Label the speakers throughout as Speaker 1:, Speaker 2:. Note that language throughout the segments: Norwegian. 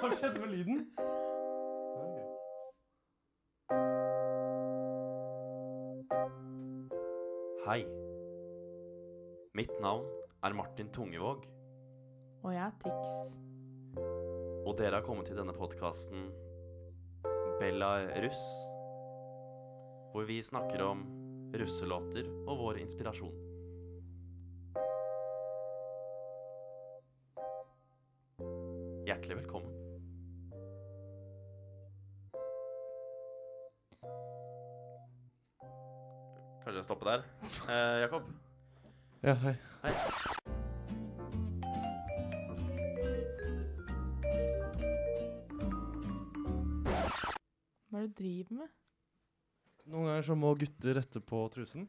Speaker 1: Hva skjedde med lyden?
Speaker 2: Hei. Mitt navn er Martin Tungevåg,
Speaker 3: Og jeg er Tix.
Speaker 2: og dere har kommet til denne podkasten Belarus, hvor vi snakker om russelåter og vår inspirasjon. Hjertelig velkommen. Kanskje jeg stopper der? Eh, Jakob?
Speaker 1: Ja, hei.
Speaker 3: Hva er det du driver med?
Speaker 1: Noen ganger så må gutter rette på trusen.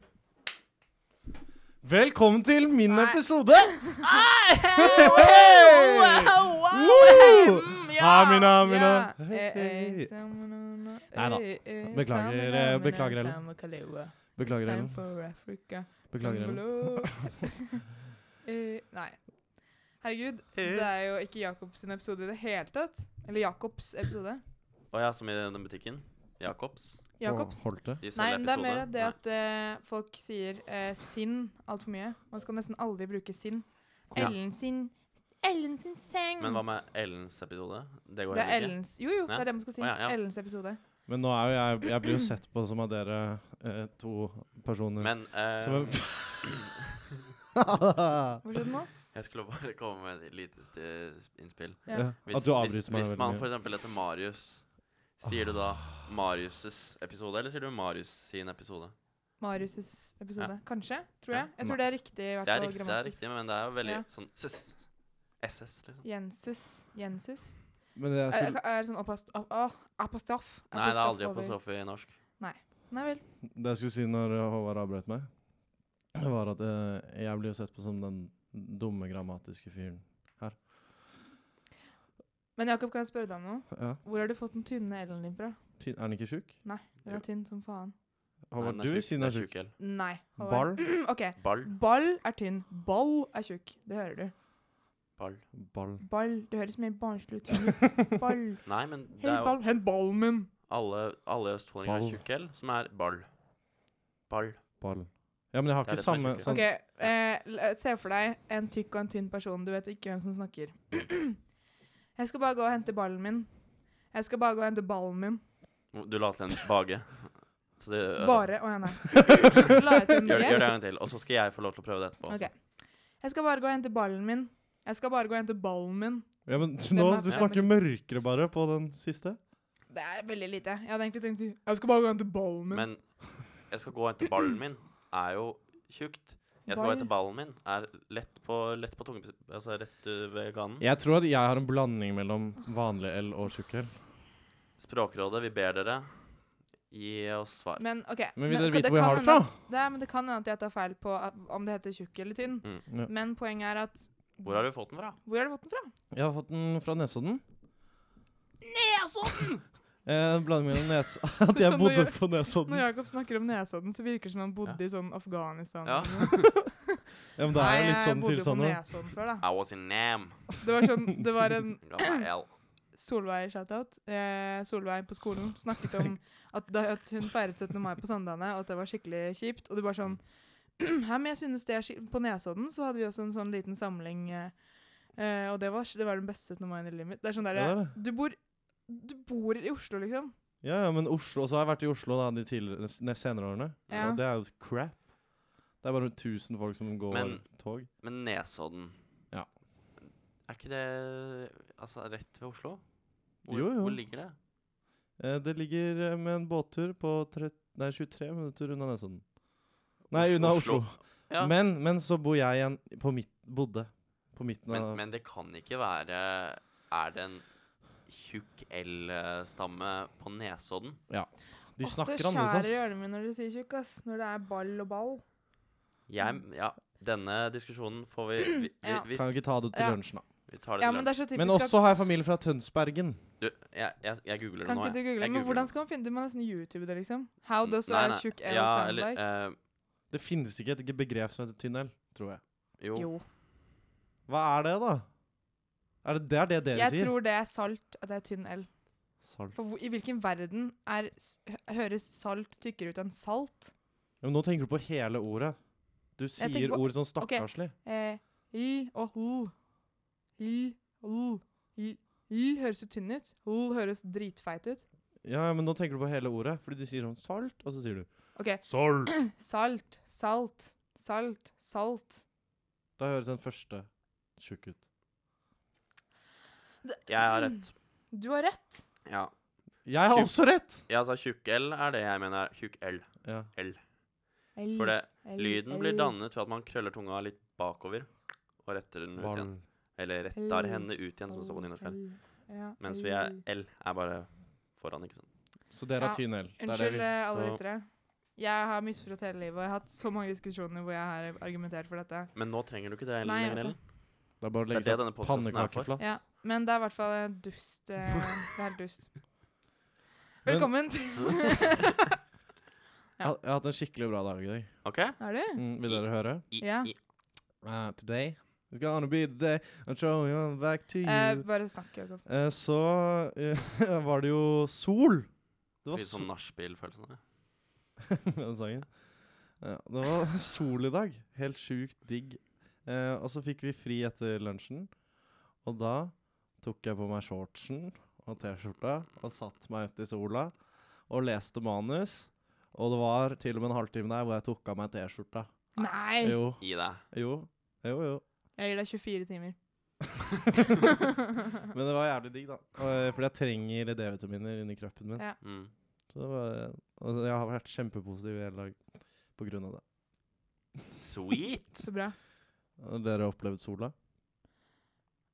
Speaker 1: Velkommen til min
Speaker 3: Nei.
Speaker 1: episode!
Speaker 3: wow,
Speaker 1: Woo!
Speaker 3: mm,
Speaker 1: Amina, amina. Hei,
Speaker 3: Eh, eh,
Speaker 1: hei.
Speaker 3: samana,
Speaker 1: Nei da.
Speaker 3: eh, eh,
Speaker 1: Beklager,
Speaker 3: samana,
Speaker 1: eh,
Speaker 3: amina,
Speaker 1: beklager, Ellen.
Speaker 3: samakalewa. It's
Speaker 1: Beklager,
Speaker 3: time
Speaker 1: Ellen.
Speaker 3: for Africa.
Speaker 1: Beklager, Ellen.
Speaker 3: Hello. Eh, Nei. Herregud, det er jo ikke Jakobs episode i det hele tatt. Eller Jakobs episode.
Speaker 2: Å ja, som i den butikken? Jakobs?
Speaker 3: Jakobs.
Speaker 1: Holdt det.
Speaker 2: De selger
Speaker 3: Nei, men det er
Speaker 2: episoder.
Speaker 3: mer det
Speaker 2: Nei.
Speaker 3: at eh, folk sier eh, sinn altfor mye. Man skal nesten aldri bruke sinn.
Speaker 2: Ja.
Speaker 3: Ellen sin Ellen sin seng.
Speaker 2: Men hva med Ellens episode? Det går
Speaker 3: Det
Speaker 2: heller
Speaker 3: er
Speaker 2: ikke.
Speaker 3: Ellens Jo, jo, det
Speaker 2: Ja.
Speaker 3: er det man skal si.
Speaker 2: Å, ja, ja.
Speaker 3: Ellens episode.
Speaker 1: Men nå er jo jeg Jeg blir jo sett på som av dere eh, to personer
Speaker 2: Men eh,
Speaker 1: som en
Speaker 3: Hva skjedde nå?
Speaker 2: jeg skulle bare komme med et lite sti- innspill.
Speaker 3: Ja.
Speaker 1: ja. At du
Speaker 2: hvis,
Speaker 1: avbryter meg
Speaker 2: hvis
Speaker 1: veldig
Speaker 2: man
Speaker 1: mye.
Speaker 2: f.eks. heter Marius, sier du da Marius' episode, eller sier du Marius sin episode?
Speaker 3: Marius' episode. Kanskje? Tror
Speaker 2: Ja.
Speaker 3: jeg. Jeg tror det er riktig. i hvert
Speaker 2: Det er
Speaker 3: fall
Speaker 2: riktig, det er
Speaker 3: grammatisk.
Speaker 2: riktig men det er jo veldig
Speaker 3: Ja.
Speaker 2: sånn ss, SS, liksom.
Speaker 3: Jensus. Jensus.
Speaker 1: Men det jeg
Speaker 3: Er, er
Speaker 1: skulle,
Speaker 3: det sånn apost... ap- åh, apostrof?
Speaker 2: Nei, det er aldri
Speaker 3: over-
Speaker 2: apostrofe i norsk.
Speaker 3: Nei vel.
Speaker 1: det jeg skulle si når eh, Håvard avbrøt meg, var at eh, jeg blir jo sett på som den dumme grammatiske fyren.
Speaker 3: Men Jakob, kan jeg spørre deg om noe?
Speaker 1: Ja.
Speaker 3: Hvor har du fått den tynne L-en din fra?
Speaker 1: Ty- Er han ikke sjuk?
Speaker 3: Den
Speaker 2: Jo.
Speaker 3: er tynn som faen.
Speaker 1: Håvard,
Speaker 2: Nei, den
Speaker 1: du vil
Speaker 2: tjukk-
Speaker 1: si han er
Speaker 2: den
Speaker 1: sjuk.
Speaker 2: tjukk,
Speaker 3: Nei. Håvard.
Speaker 1: Ball?
Speaker 3: OK.
Speaker 2: Ball.
Speaker 3: Ball er tynn. Ball er tjukk. Det hører du.
Speaker 2: Ball.
Speaker 1: Ball.
Speaker 3: Ball. Det høres mer barnslig ut. Ball.
Speaker 2: Nei, men det
Speaker 3: Hent
Speaker 2: er jo
Speaker 3: ball. Hent ballen min.
Speaker 2: alle, alle østfoldinger
Speaker 1: Ball.
Speaker 2: har tjukkel, som er ball. Ball.
Speaker 1: Ball. Ja, men jeg har
Speaker 2: Det er
Speaker 1: ikke
Speaker 2: det som er
Speaker 1: samme
Speaker 2: sjukt.
Speaker 1: sånn
Speaker 3: Ok, eh, l- se for deg en tykk og en tynn person. Du vet ikke hvem som snakker. Jeg skal bare gå og hente ballen min. Jeg skal bare gå og hente ballen min.
Speaker 2: Du la til en bage. Så det,
Speaker 3: Bare Å ja, nei. La jeg til
Speaker 2: Gjør,
Speaker 3: den
Speaker 2: gjør det
Speaker 3: igjen?
Speaker 2: en gang til, og så skal jeg få lov til å prøve det etterpå. også.
Speaker 3: Ok. Jeg skal bare gå og hente ballen min. Jeg skal bare gå og hente ballen min.
Speaker 1: Ja, men du-
Speaker 3: Den
Speaker 1: nå,
Speaker 3: er-
Speaker 1: du snakker mørkere bare på den siste.
Speaker 3: Det er veldig lite. Jeg hadde egentlig tenkt å si Jeg skal bare gå og hente ballen min.
Speaker 2: Men jeg skal gå og hente ballen min, er jo tjukt. Jeg skal gå og hente ballen min, er lett på, lett på tunge, altså rett uh, ved ganen.
Speaker 1: Jeg tror at jeg har en blanding mellom vanlig L og tjukk L.
Speaker 2: Språkrådet, vi ber dere gi oss svar.
Speaker 3: Men OK.
Speaker 1: Men vil dere
Speaker 3: kan-
Speaker 1: vite hvor jeg
Speaker 3: kan
Speaker 1: har det
Speaker 3: hende
Speaker 1: fra?
Speaker 3: at- Det, er- men det kan hende at jeg tar feil på at, om det heter tjukk eller tynn.
Speaker 2: Mm.
Speaker 1: Ja.
Speaker 3: Men poenget er at
Speaker 2: Hvor har du fått den fra?
Speaker 3: Hvor har du fått den fra?
Speaker 1: Jeg har fått den fra Nesodden. Nesodden! En blanding mellom nes... At jeg
Speaker 3: Skjønner
Speaker 1: bodde
Speaker 3: jeg.
Speaker 1: på Nesodden.
Speaker 3: Når Jakob snakker om Nesodden, så virker det som han bodde i sånn Afghanistan.
Speaker 1: Ja,
Speaker 2: Ja.
Speaker 3: eller noe.
Speaker 1: men det er jo litt sånn
Speaker 3: Nei, jeg bodde jo
Speaker 1: tilstander.
Speaker 3: på Nesodden før, da.
Speaker 2: I was in Nam.
Speaker 3: Det var, sånn, det var en
Speaker 2: Ga meg L.
Speaker 3: Solveig-shoutout. Eh, Solveig på skolen snakket om at, da, at hun feiret 17. mai på Sandane, og at det var skikkelig kjipt. Og det var sånn Hæ, men jeg synes det er skik- På Nesodden så hadde vi også en sånn liten samling, eh, eh, og det var, det var den beste 17. mai i livet mitt. Det er sånn
Speaker 1: Ja,
Speaker 3: derre
Speaker 1: det er
Speaker 3: Du bor Du bor i Oslo, liksom.
Speaker 1: Ja, ja, men Oslo, og så har jeg vært i Oslo da, de tidligere, nes- nes- senere årene.
Speaker 3: Ja.
Speaker 1: Og det er jo crap. Det er bare 1000 folk som går
Speaker 2: Men-
Speaker 1: tog.
Speaker 2: Men Nesodden.
Speaker 1: Ja.
Speaker 2: Er ikke det altså, rett ved Oslo? Hvor,
Speaker 1: Jo, jo.
Speaker 2: hvor ligger det?
Speaker 1: Eh, det ligger eh, med en båttur på tre, nei, 23 minutter unna Nesodden. Nei, unna Oslo.
Speaker 2: Ja. Men,
Speaker 1: Men, men så bor jeg igjen på midt, bodde på midten
Speaker 2: men,
Speaker 1: av
Speaker 2: det kan ikke være Er det en tjukk L-stamme på Nesodden?
Speaker 1: De
Speaker 3: Åh,
Speaker 1: snakker
Speaker 3: Det skjærer i
Speaker 1: annerledes, ass.
Speaker 3: ørene mine når du sier tjukk, ass. Når det er ball og ball.
Speaker 2: Jeg, ja, denne diskusjonen får vi Vi, vi,
Speaker 3: Mm. Ja.
Speaker 2: vi,
Speaker 1: Kan jo ikke ta det til
Speaker 3: Ja.
Speaker 1: lunsjen, da.
Speaker 2: vi tar det
Speaker 3: Ja,
Speaker 2: til
Speaker 3: men
Speaker 2: lunsj.
Speaker 3: det er så typisk
Speaker 1: Men
Speaker 3: at-
Speaker 1: også har jeg familie fra Tønsbergen.
Speaker 2: Du, jeg, jeg, jeg googler det
Speaker 3: Kan
Speaker 2: nå.
Speaker 3: ikke du
Speaker 2: jeg. Jeg
Speaker 3: google? Men
Speaker 2: googler
Speaker 3: hvordan
Speaker 2: det.
Speaker 3: skal man finne det? Man nesten YouTube det, liksom. How
Speaker 2: Mm,
Speaker 3: does
Speaker 2: nei,
Speaker 3: a
Speaker 2: nei.
Speaker 3: tjukk L
Speaker 2: ja,
Speaker 3: sound
Speaker 2: eller,
Speaker 3: like?
Speaker 2: eh,
Speaker 1: Det finnes ikke et
Speaker 2: eh,
Speaker 1: begrep som heter tunnel, tror jeg.
Speaker 2: jo.
Speaker 3: jo.
Speaker 1: Hva er det, da? Er det, det er det dere
Speaker 3: Jeg
Speaker 1: sier?
Speaker 3: tror det er salt, at det er tynn L.
Speaker 1: Salt.
Speaker 3: For hvor, i hvilken verden er, s- hø- høres salt tykkere ut enn salt?
Speaker 1: Ja, men nå tenker du på hele ordet. Du
Speaker 3: Jeg
Speaker 1: sier
Speaker 3: tenker på-
Speaker 1: ord sånn
Speaker 3: ok.
Speaker 1: stakkarslig.
Speaker 3: Eh, l og l. L, l. L, l høres jo tynn ut. L høres dritfeit ut.
Speaker 1: Ja, men nå tenker du på hele ordet. Fordi du sier sånn salt, og så sier du
Speaker 3: OK.
Speaker 1: salt.
Speaker 3: Salt, salt, salt, salt.
Speaker 1: Da høres den første tjukk ut.
Speaker 2: Jeg har rett.
Speaker 3: Du har rett.
Speaker 2: Ja.
Speaker 1: Jeg har
Speaker 2: Tjukk.
Speaker 1: også rett!
Speaker 2: ja, altså tjukk L er det jeg mener. Tjukk L.
Speaker 1: Ja.
Speaker 2: L.
Speaker 3: L,
Speaker 2: For det,
Speaker 3: L,
Speaker 2: lyden blir
Speaker 3: L.
Speaker 2: dannet ved at man krøller tunga litt bakover og retter den ut igjen.
Speaker 1: Ball.
Speaker 2: Eller retter
Speaker 3: L.
Speaker 2: henne ut igjen, som det står på nynorsk her.
Speaker 3: L. Ja,
Speaker 2: Mens vi er L
Speaker 3: L.
Speaker 2: er bare foran, ikke sant.
Speaker 1: Så dere
Speaker 3: Ja,
Speaker 1: har tynn L. Det er det
Speaker 3: Unnskyld,
Speaker 1: vi-
Speaker 3: eh, alle
Speaker 2: så-
Speaker 3: lyttere. Jeg har misforstått hele livet, og jeg har hatt så mange diskusjoner hvor jeg har argumentert for dette.
Speaker 2: Men nå trenger du ikke det
Speaker 3: Nei, jeg
Speaker 2: lenger,
Speaker 3: vet
Speaker 2: eller?
Speaker 1: Det er bare å
Speaker 2: Det er
Speaker 1: legge
Speaker 2: det
Speaker 1: seg
Speaker 2: denne podcasten er for.
Speaker 1: pannekakeflatt.
Speaker 3: Ja, men det er i hvert fall eh, dust. eh, Det er helt dust. Velkommen til
Speaker 1: Jeg
Speaker 3: Ja.
Speaker 1: har- jeg har hatt en skikkelig bra dag i dag.
Speaker 2: OK?
Speaker 3: Er du?
Speaker 1: Mm, vil dere høre?
Speaker 2: I,
Speaker 3: Ja.
Speaker 2: i,
Speaker 1: Uh, today is gonna be the day I'm showing you back to you.
Speaker 3: Eh, bare snakk, Jakob.
Speaker 1: Eh, så eh, var det jo sol. Det var
Speaker 2: litt sånn
Speaker 1: sol
Speaker 2: nachspiel-følelsen. av det.
Speaker 1: med den sangen. Ja, det var sol i dag. Helt sjukt digg. Eh, og så fikk vi fri etter lunsjen. Og da tok jeg på meg shortsen og T-skjorta og satte meg ute i sola og leste manus. Og det var til og med en halvtime der hvor jeg tok av meg T-skjorta.
Speaker 3: Nei!
Speaker 1: Ah, Jo,
Speaker 2: Gi deg.
Speaker 1: jo, jo. jo.
Speaker 3: Jeg gir deg 24 timer.
Speaker 1: Men det var jævlig digg, da. Og, eh, Fordi jeg trenger D-vitaminer inni kroppen min.
Speaker 3: Ja.
Speaker 2: Mm.
Speaker 1: Så det var, og jeg har vært kjempepositiv i hele dag på grunn av det.
Speaker 2: Sweet!
Speaker 3: Så bra.
Speaker 1: Og Dere har opplevd sola?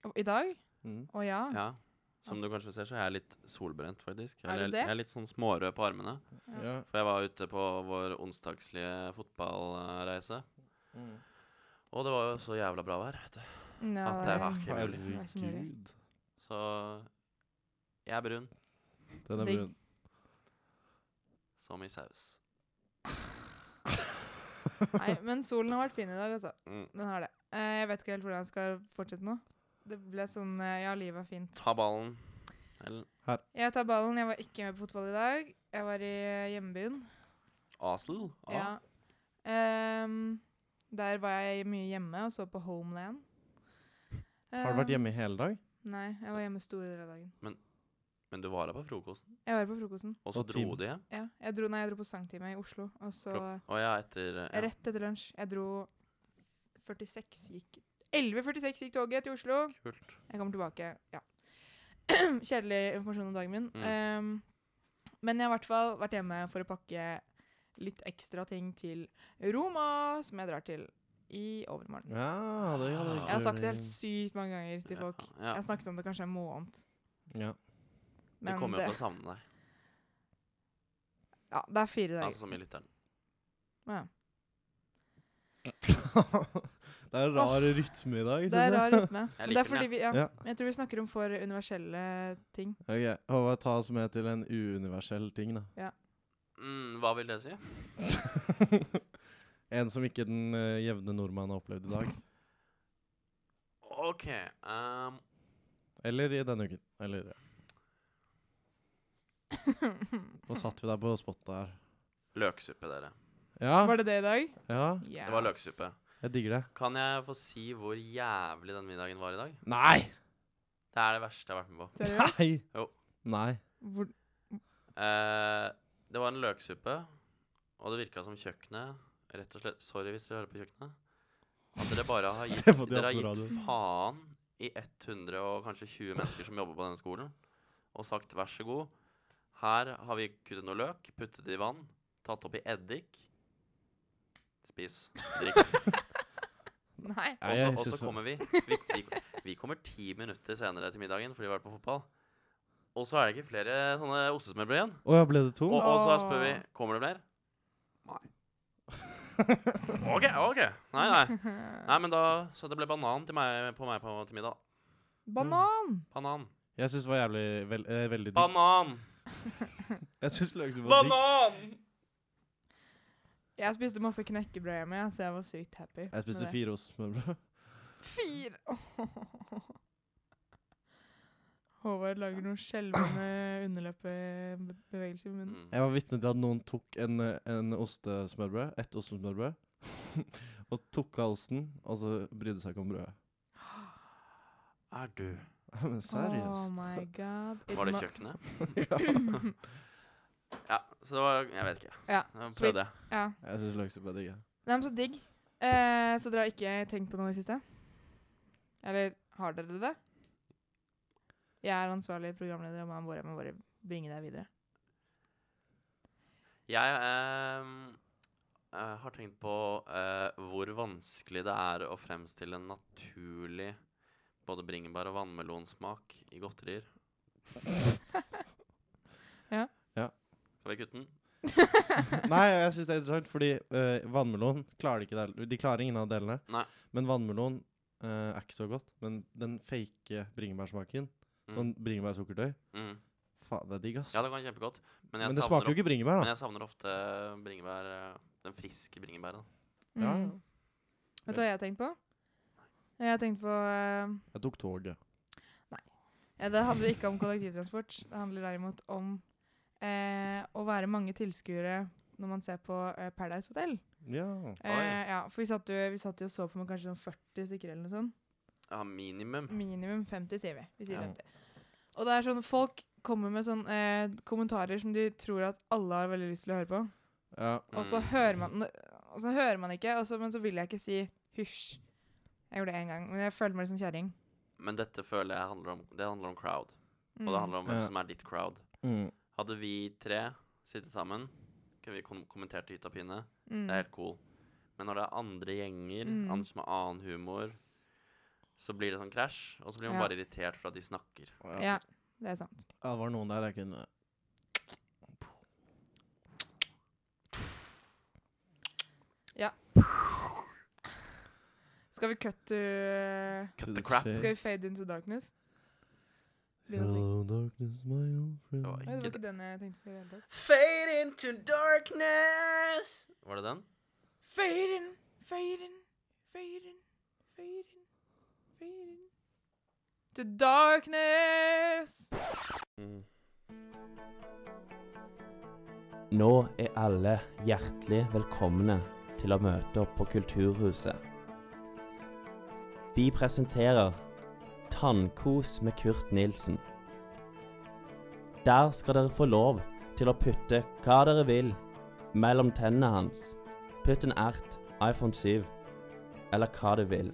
Speaker 3: Og I dag?
Speaker 1: Mm.
Speaker 3: Å ja.
Speaker 2: Ja. Som du kanskje ser, så er jeg litt solbrent, faktisk.
Speaker 3: Er du
Speaker 2: Eller,
Speaker 3: det?
Speaker 2: Jeg er litt sånn smårød på armene.
Speaker 3: Ja.
Speaker 1: Ja.
Speaker 2: For jeg var ute på vår onsdagslige fotballreise.
Speaker 1: Mm.
Speaker 2: Og det var jo så jævla bra vær. vet du.
Speaker 3: Nå,
Speaker 2: At det var ikke mulig.
Speaker 3: Det er så mulig.
Speaker 1: Herregud.
Speaker 2: Så jeg er brun
Speaker 1: Den
Speaker 3: Så
Speaker 1: er
Speaker 3: digg.
Speaker 1: brun.
Speaker 2: som i saus.
Speaker 3: Nei, men solen har vært fin i dag, altså.
Speaker 2: Mm.
Speaker 3: Den har det. Eh, jeg vet ikke helt hvordan jeg skal fortsette nå. Det ble sånn eh, Ja, livet er fint.
Speaker 2: Ta ballen. Eller
Speaker 3: Jeg tar ballen. Jeg var ikke med på fotball i dag. Jeg var i eh, hjembyen.
Speaker 2: Asel.
Speaker 1: Ah.
Speaker 2: A.
Speaker 3: Ja. Ehm, der var jeg mye hjemme og så på Homeland.
Speaker 1: Har du vært hjemme i hele dag?
Speaker 3: Nei, jeg var hjemme store deler av dagen.
Speaker 2: Men du var der på frokosten,
Speaker 3: Jeg var på frokosten.
Speaker 2: og så
Speaker 1: Og
Speaker 2: dro
Speaker 1: time.
Speaker 2: du hjem.
Speaker 3: Ja, jeg dro, nei, jeg dro på sangtime i Oslo, og så
Speaker 2: Klok- Og jeg er etter eh, ja.
Speaker 3: rett etter lunsj. Jeg dro 46 gikk 11.46 gikk toget til Oslo.
Speaker 2: Kult.
Speaker 3: Jeg kommer tilbake, ja. Kjedelig informasjon om dagen min.
Speaker 2: Mm.
Speaker 3: Ehm, men jeg har i hvert fall vært hjemme for å pakke litt ekstra ting til Roma, som jeg drar til i overmorgen.
Speaker 1: Ja, det hadde
Speaker 2: Jeg
Speaker 3: Ah. Jeg har sagt det helt sykt mange ganger til folk.
Speaker 2: Ja,
Speaker 3: Jeg
Speaker 2: ja.
Speaker 3: har snakket om det kanskje en måned.
Speaker 1: Ja.
Speaker 2: Vi
Speaker 3: Men
Speaker 2: kommer
Speaker 3: det,
Speaker 2: jo til å savne deg,
Speaker 3: ja, det er fire dager.
Speaker 2: altså som i lytteren.
Speaker 3: Ja.
Speaker 1: det er rar rytme i dag,
Speaker 3: Det er rar
Speaker 1: syns jeg.
Speaker 3: rytme.
Speaker 2: Jeg
Speaker 3: Men det
Speaker 2: liker
Speaker 3: er fordi
Speaker 2: den,
Speaker 3: vi, ja.
Speaker 1: Ja.
Speaker 3: Men Jeg tror vi snakker om for universelle ting.
Speaker 1: Ok, Håvard, ta oss med til en uuniversell ting, da.
Speaker 2: Mm, hva vil det si?
Speaker 1: en som ikke den eh, jevne nordmann har opplevd i dag.
Speaker 2: OK ehm,
Speaker 1: Eller i denne uken. Eller, ja. Nå satt vi der på spottet her.
Speaker 2: Løksuppe, dere.
Speaker 1: Ja,
Speaker 3: Var det det i dag?
Speaker 1: ja,
Speaker 2: Det var løksuppe.
Speaker 1: jeg digger det.
Speaker 2: Kan jeg få si hvor jævlig den middagen var i dag?
Speaker 1: Nei!
Speaker 2: Det er det verste jeg har vært med på.
Speaker 3: Seriøst?
Speaker 1: Nei!
Speaker 2: Jo.
Speaker 1: Nei.
Speaker 3: Hvor-
Speaker 2: Eh, det var en løksuppe, og det virka som kjøkkenet Rett og slett, Sorry hvis dere hører på kjøkkenet. At dere bare har gitt,
Speaker 1: Se på de
Speaker 2: dere har
Speaker 1: andre
Speaker 2: gitt
Speaker 1: radioen.
Speaker 2: faen i 100 og kanskje 20 mennesker som jobber på denne skolen, og sagt vær så god, her har vi kuttet noe løk, puttet det i vann, tatt opp i eddik. Spis. Drikk.
Speaker 3: Nei.
Speaker 1: Nei,
Speaker 2: Og så-
Speaker 1: jeg
Speaker 2: Og
Speaker 1: synes
Speaker 2: så
Speaker 1: det-
Speaker 2: kommer vi vi, vi vi kommer ti minutter senere til middagen fordi vi har vært på fotball. Og så er det ikke flere sånne ostesmørbrød igjen.
Speaker 1: Å ja, ble det
Speaker 2: Og,
Speaker 1: to?
Speaker 2: og så spør vi kommer det flere. Nei. OK, OK. Nei, nei. Nei, men da, Så det ble banan til meg på meg på, til middag.
Speaker 3: Banan!
Speaker 2: Banan.
Speaker 1: Jeg syns det var jævlig vel, eh, veldig digg.
Speaker 2: Banan!
Speaker 1: Jeg synes løksuppe var digg.
Speaker 2: Banan!
Speaker 3: Jeg spiste masse knekkebrød hjemme, ja, så jeg var sykt happy.
Speaker 1: Jeg spiste fire ostesmørbrød.
Speaker 3: fire. Håvard lager noen skjelvende underleppebevegelser i munnen.
Speaker 2: Mm.
Speaker 1: Jeg var vitne til at noen tok en, eh, en ostesmørbrød, ett ostesmørbrød, og tok av osten, og så brydde seg ikke om brødet.
Speaker 2: Er du
Speaker 1: Men
Speaker 3: Oh
Speaker 1: seriøst.
Speaker 3: my god. It
Speaker 2: Var det
Speaker 3: mu-
Speaker 2: kjøkkenet?
Speaker 1: ja.
Speaker 2: Ja, så det var Jeg vet ikke.
Speaker 3: Ja,
Speaker 2: Jeg må
Speaker 3: sweet.
Speaker 2: prøve det.
Speaker 3: Ja.
Speaker 1: Jeg syns løksuppe er digg. jeg.
Speaker 3: Nei, men så digg. Eh, så dere har ikke tenkt på noe i siste? Eller har dere det? Jeg er ansvarlig programleder, og man bare- jeg må bare bringe deg videre.
Speaker 2: Jeg ehm, eh, har tenkt på eh, hvor vanskelig det er å fremstille en naturlig både bringebær- og vannmelonsmak i godterier.
Speaker 3: Ja.
Speaker 1: Ja.
Speaker 2: Skal vi kutte den?
Speaker 1: Nei, jeg syns det er interessant, fordi eh, vannmelon klarer de ikke del De klarer ingen av delene.
Speaker 2: Nei.
Speaker 1: Men vannmelon eh, er ikke så godt. Men den fake bringebærsmaken,
Speaker 2: Mm.
Speaker 1: sånn bringebærsukkertøy,
Speaker 2: Mm.
Speaker 1: faen, det er digg, ass.
Speaker 2: Ja, det går kjempegodt. Men, jeg
Speaker 1: men det
Speaker 2: savner
Speaker 1: smaker jo
Speaker 2: of-
Speaker 1: ikke bringebær,
Speaker 2: Men
Speaker 1: da.
Speaker 2: jeg savner ofte bringebær eh, den friske bringebæren.
Speaker 1: Ja, ja.
Speaker 3: Mm. Vet du hva jeg har tenkt på? Jeg har tenkt på eh,
Speaker 1: Jeg tok toget.
Speaker 3: ja, Det handler ikke om kollektivtransport. Det handler derimot om eh, å være mange tilskuere når man ser på eh, Paradise Hotel.
Speaker 1: Ja.
Speaker 3: Eh, ja, for vi satt, jo, vi satt jo og så på med kanskje sånn 40 stykker eller noe sånt.
Speaker 2: Ja, minimum.
Speaker 3: Minimum 50, sier vi. Vi sier
Speaker 1: Ja.
Speaker 3: 50. Og det er sånn, folk kommer med sånn eh, kommentarer som de tror at alle har veldig lyst til å høre på.
Speaker 1: ja.
Speaker 3: Og så
Speaker 2: Mm.
Speaker 3: hører man og så hører man ikke, og så, men så vil jeg ikke si hysj. Jeg gjorde det én gang, men jeg følte meg litt som kjerring.
Speaker 2: Men dette føler jeg handler om Det handler om crowd.
Speaker 3: Mm.
Speaker 2: Og det handler om hvem
Speaker 1: Ja.
Speaker 2: som er ditt crowd.
Speaker 1: Mm.
Speaker 2: Hadde vi tre sittet sammen, kunne vi kom kommentert til hytta og pinne.
Speaker 3: Mm.
Speaker 2: Det er helt cool. Men når det er andre gjenger,
Speaker 3: Mm.
Speaker 2: andre som har annen humor, så blir det sånn krasj. Og så blir man
Speaker 3: Ja.
Speaker 2: bare irritert for at de snakker.
Speaker 3: Mm. Ja, det er sant.
Speaker 1: Ja, det var noen der jeg kunne
Speaker 3: Skal vi cut to
Speaker 1: To
Speaker 2: Cut
Speaker 1: the
Speaker 2: the crap.
Speaker 1: chase.
Speaker 2: Det
Speaker 3: Skal vi fade into darkness? Det var ikke-
Speaker 1: Hello, darkness, my old friend.
Speaker 2: var
Speaker 3: Oi, det var
Speaker 2: ikke
Speaker 3: ikke den jeg tenkte på i det hele tatt.
Speaker 2: Fade into darkness! Var det den?
Speaker 3: Fade in, fade in, fade in, fade in, fade in. To darkness!
Speaker 4: Mm. Nå er alle hjertelig velkomne til å møte opp på Kulturhuset. Vi presenterer Tannkos med Kurt Nilsen. Der skal dere få lov til å putte hva dere vil mellom tennene hans. Putt en ert, iPhone 7 eller hva du vil.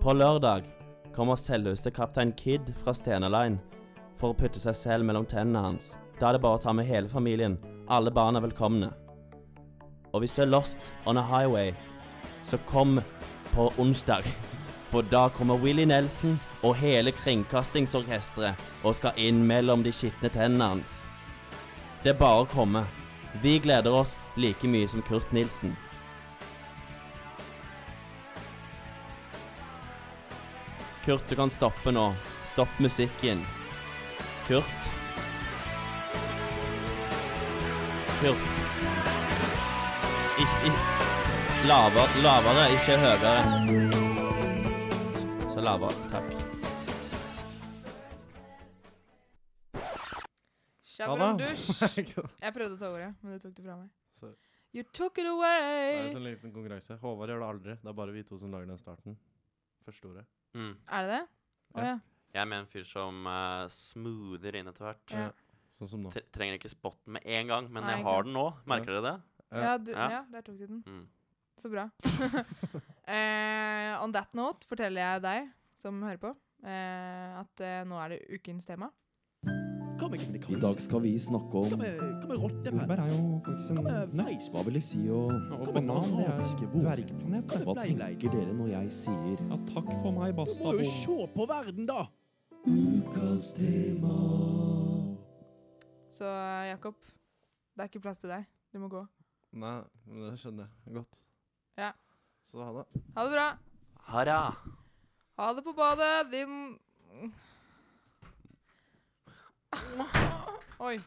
Speaker 4: På lørdag kommer selveste kaptein Kid fra Stenaline for å putte seg selv mellom tennene hans. Da er det bare å ta med hele familien. Alle barn er velkomne. Og hvis du er lost on a highway, så kom på onsdag. For da kommer Willy Nelson og hele kringkastingsorkesteret og skal inn mellom de skitne tennene hans. Det er bare å komme. Vi gleder oss like mye som Kurt Nilsen. Kurt, du kan stoppe nå. Stopp musikken. Kurt. Kurt. Ik ik lavere, lavere, ikke høyere. Så lavere. Takk.
Speaker 3: Shabramdusj.
Speaker 1: Ikke sant?
Speaker 3: Jeg prøvde å ta ordet, men du tok det fra meg.
Speaker 1: Sorry.
Speaker 3: You took it
Speaker 1: Det er en
Speaker 3: away!
Speaker 1: sånn liten konkurranse. Håvard gjør det aldri. Det er bare vi to som lager den starten. Første ordet.
Speaker 2: Mm.
Speaker 3: Er det det? Å ja.
Speaker 2: Jeg er med en fyr som eh, smoother inn etter hvert.
Speaker 3: Ja.
Speaker 1: Sånn som nå.
Speaker 2: Tre- Trenger ikke spotten med en gang, men
Speaker 3: Nei,
Speaker 2: jeg
Speaker 3: ikke
Speaker 2: har den nå. Merker dere det?
Speaker 3: Ja, du,
Speaker 2: Ja.
Speaker 3: ja, der tok du den.
Speaker 2: Mm.
Speaker 3: Så bra. eh, on that note forteller jeg deg som hører på, eh, at eh, nå er det ukens tema.
Speaker 5: Hva med
Speaker 6: I dag skal vi snakke
Speaker 5: Hva
Speaker 6: om
Speaker 5: med, hva med rottefell?
Speaker 7: Jordbær er jo faktisk en
Speaker 5: Hva med
Speaker 7: nøtt.
Speaker 5: feis?
Speaker 6: Hva vil det si å
Speaker 7: Og
Speaker 5: Hva med
Speaker 7: banan det er
Speaker 5: arabiske vår?
Speaker 7: dvergplanet.
Speaker 6: Hva tenker dere når jeg sier
Speaker 7: Ja, takk for meg,
Speaker 5: Du
Speaker 7: basta
Speaker 5: må jo
Speaker 7: bom.
Speaker 5: se på verden, da!
Speaker 6: ukas tema?
Speaker 3: Så eh, Jakob, det er ikke plass til deg. Du må gå.
Speaker 1: Nei, men det skjønner jeg godt.
Speaker 3: Ja.
Speaker 1: Så ha det.
Speaker 3: Ha det bra.
Speaker 2: Hara!
Speaker 3: Ha det på badet, din Oi.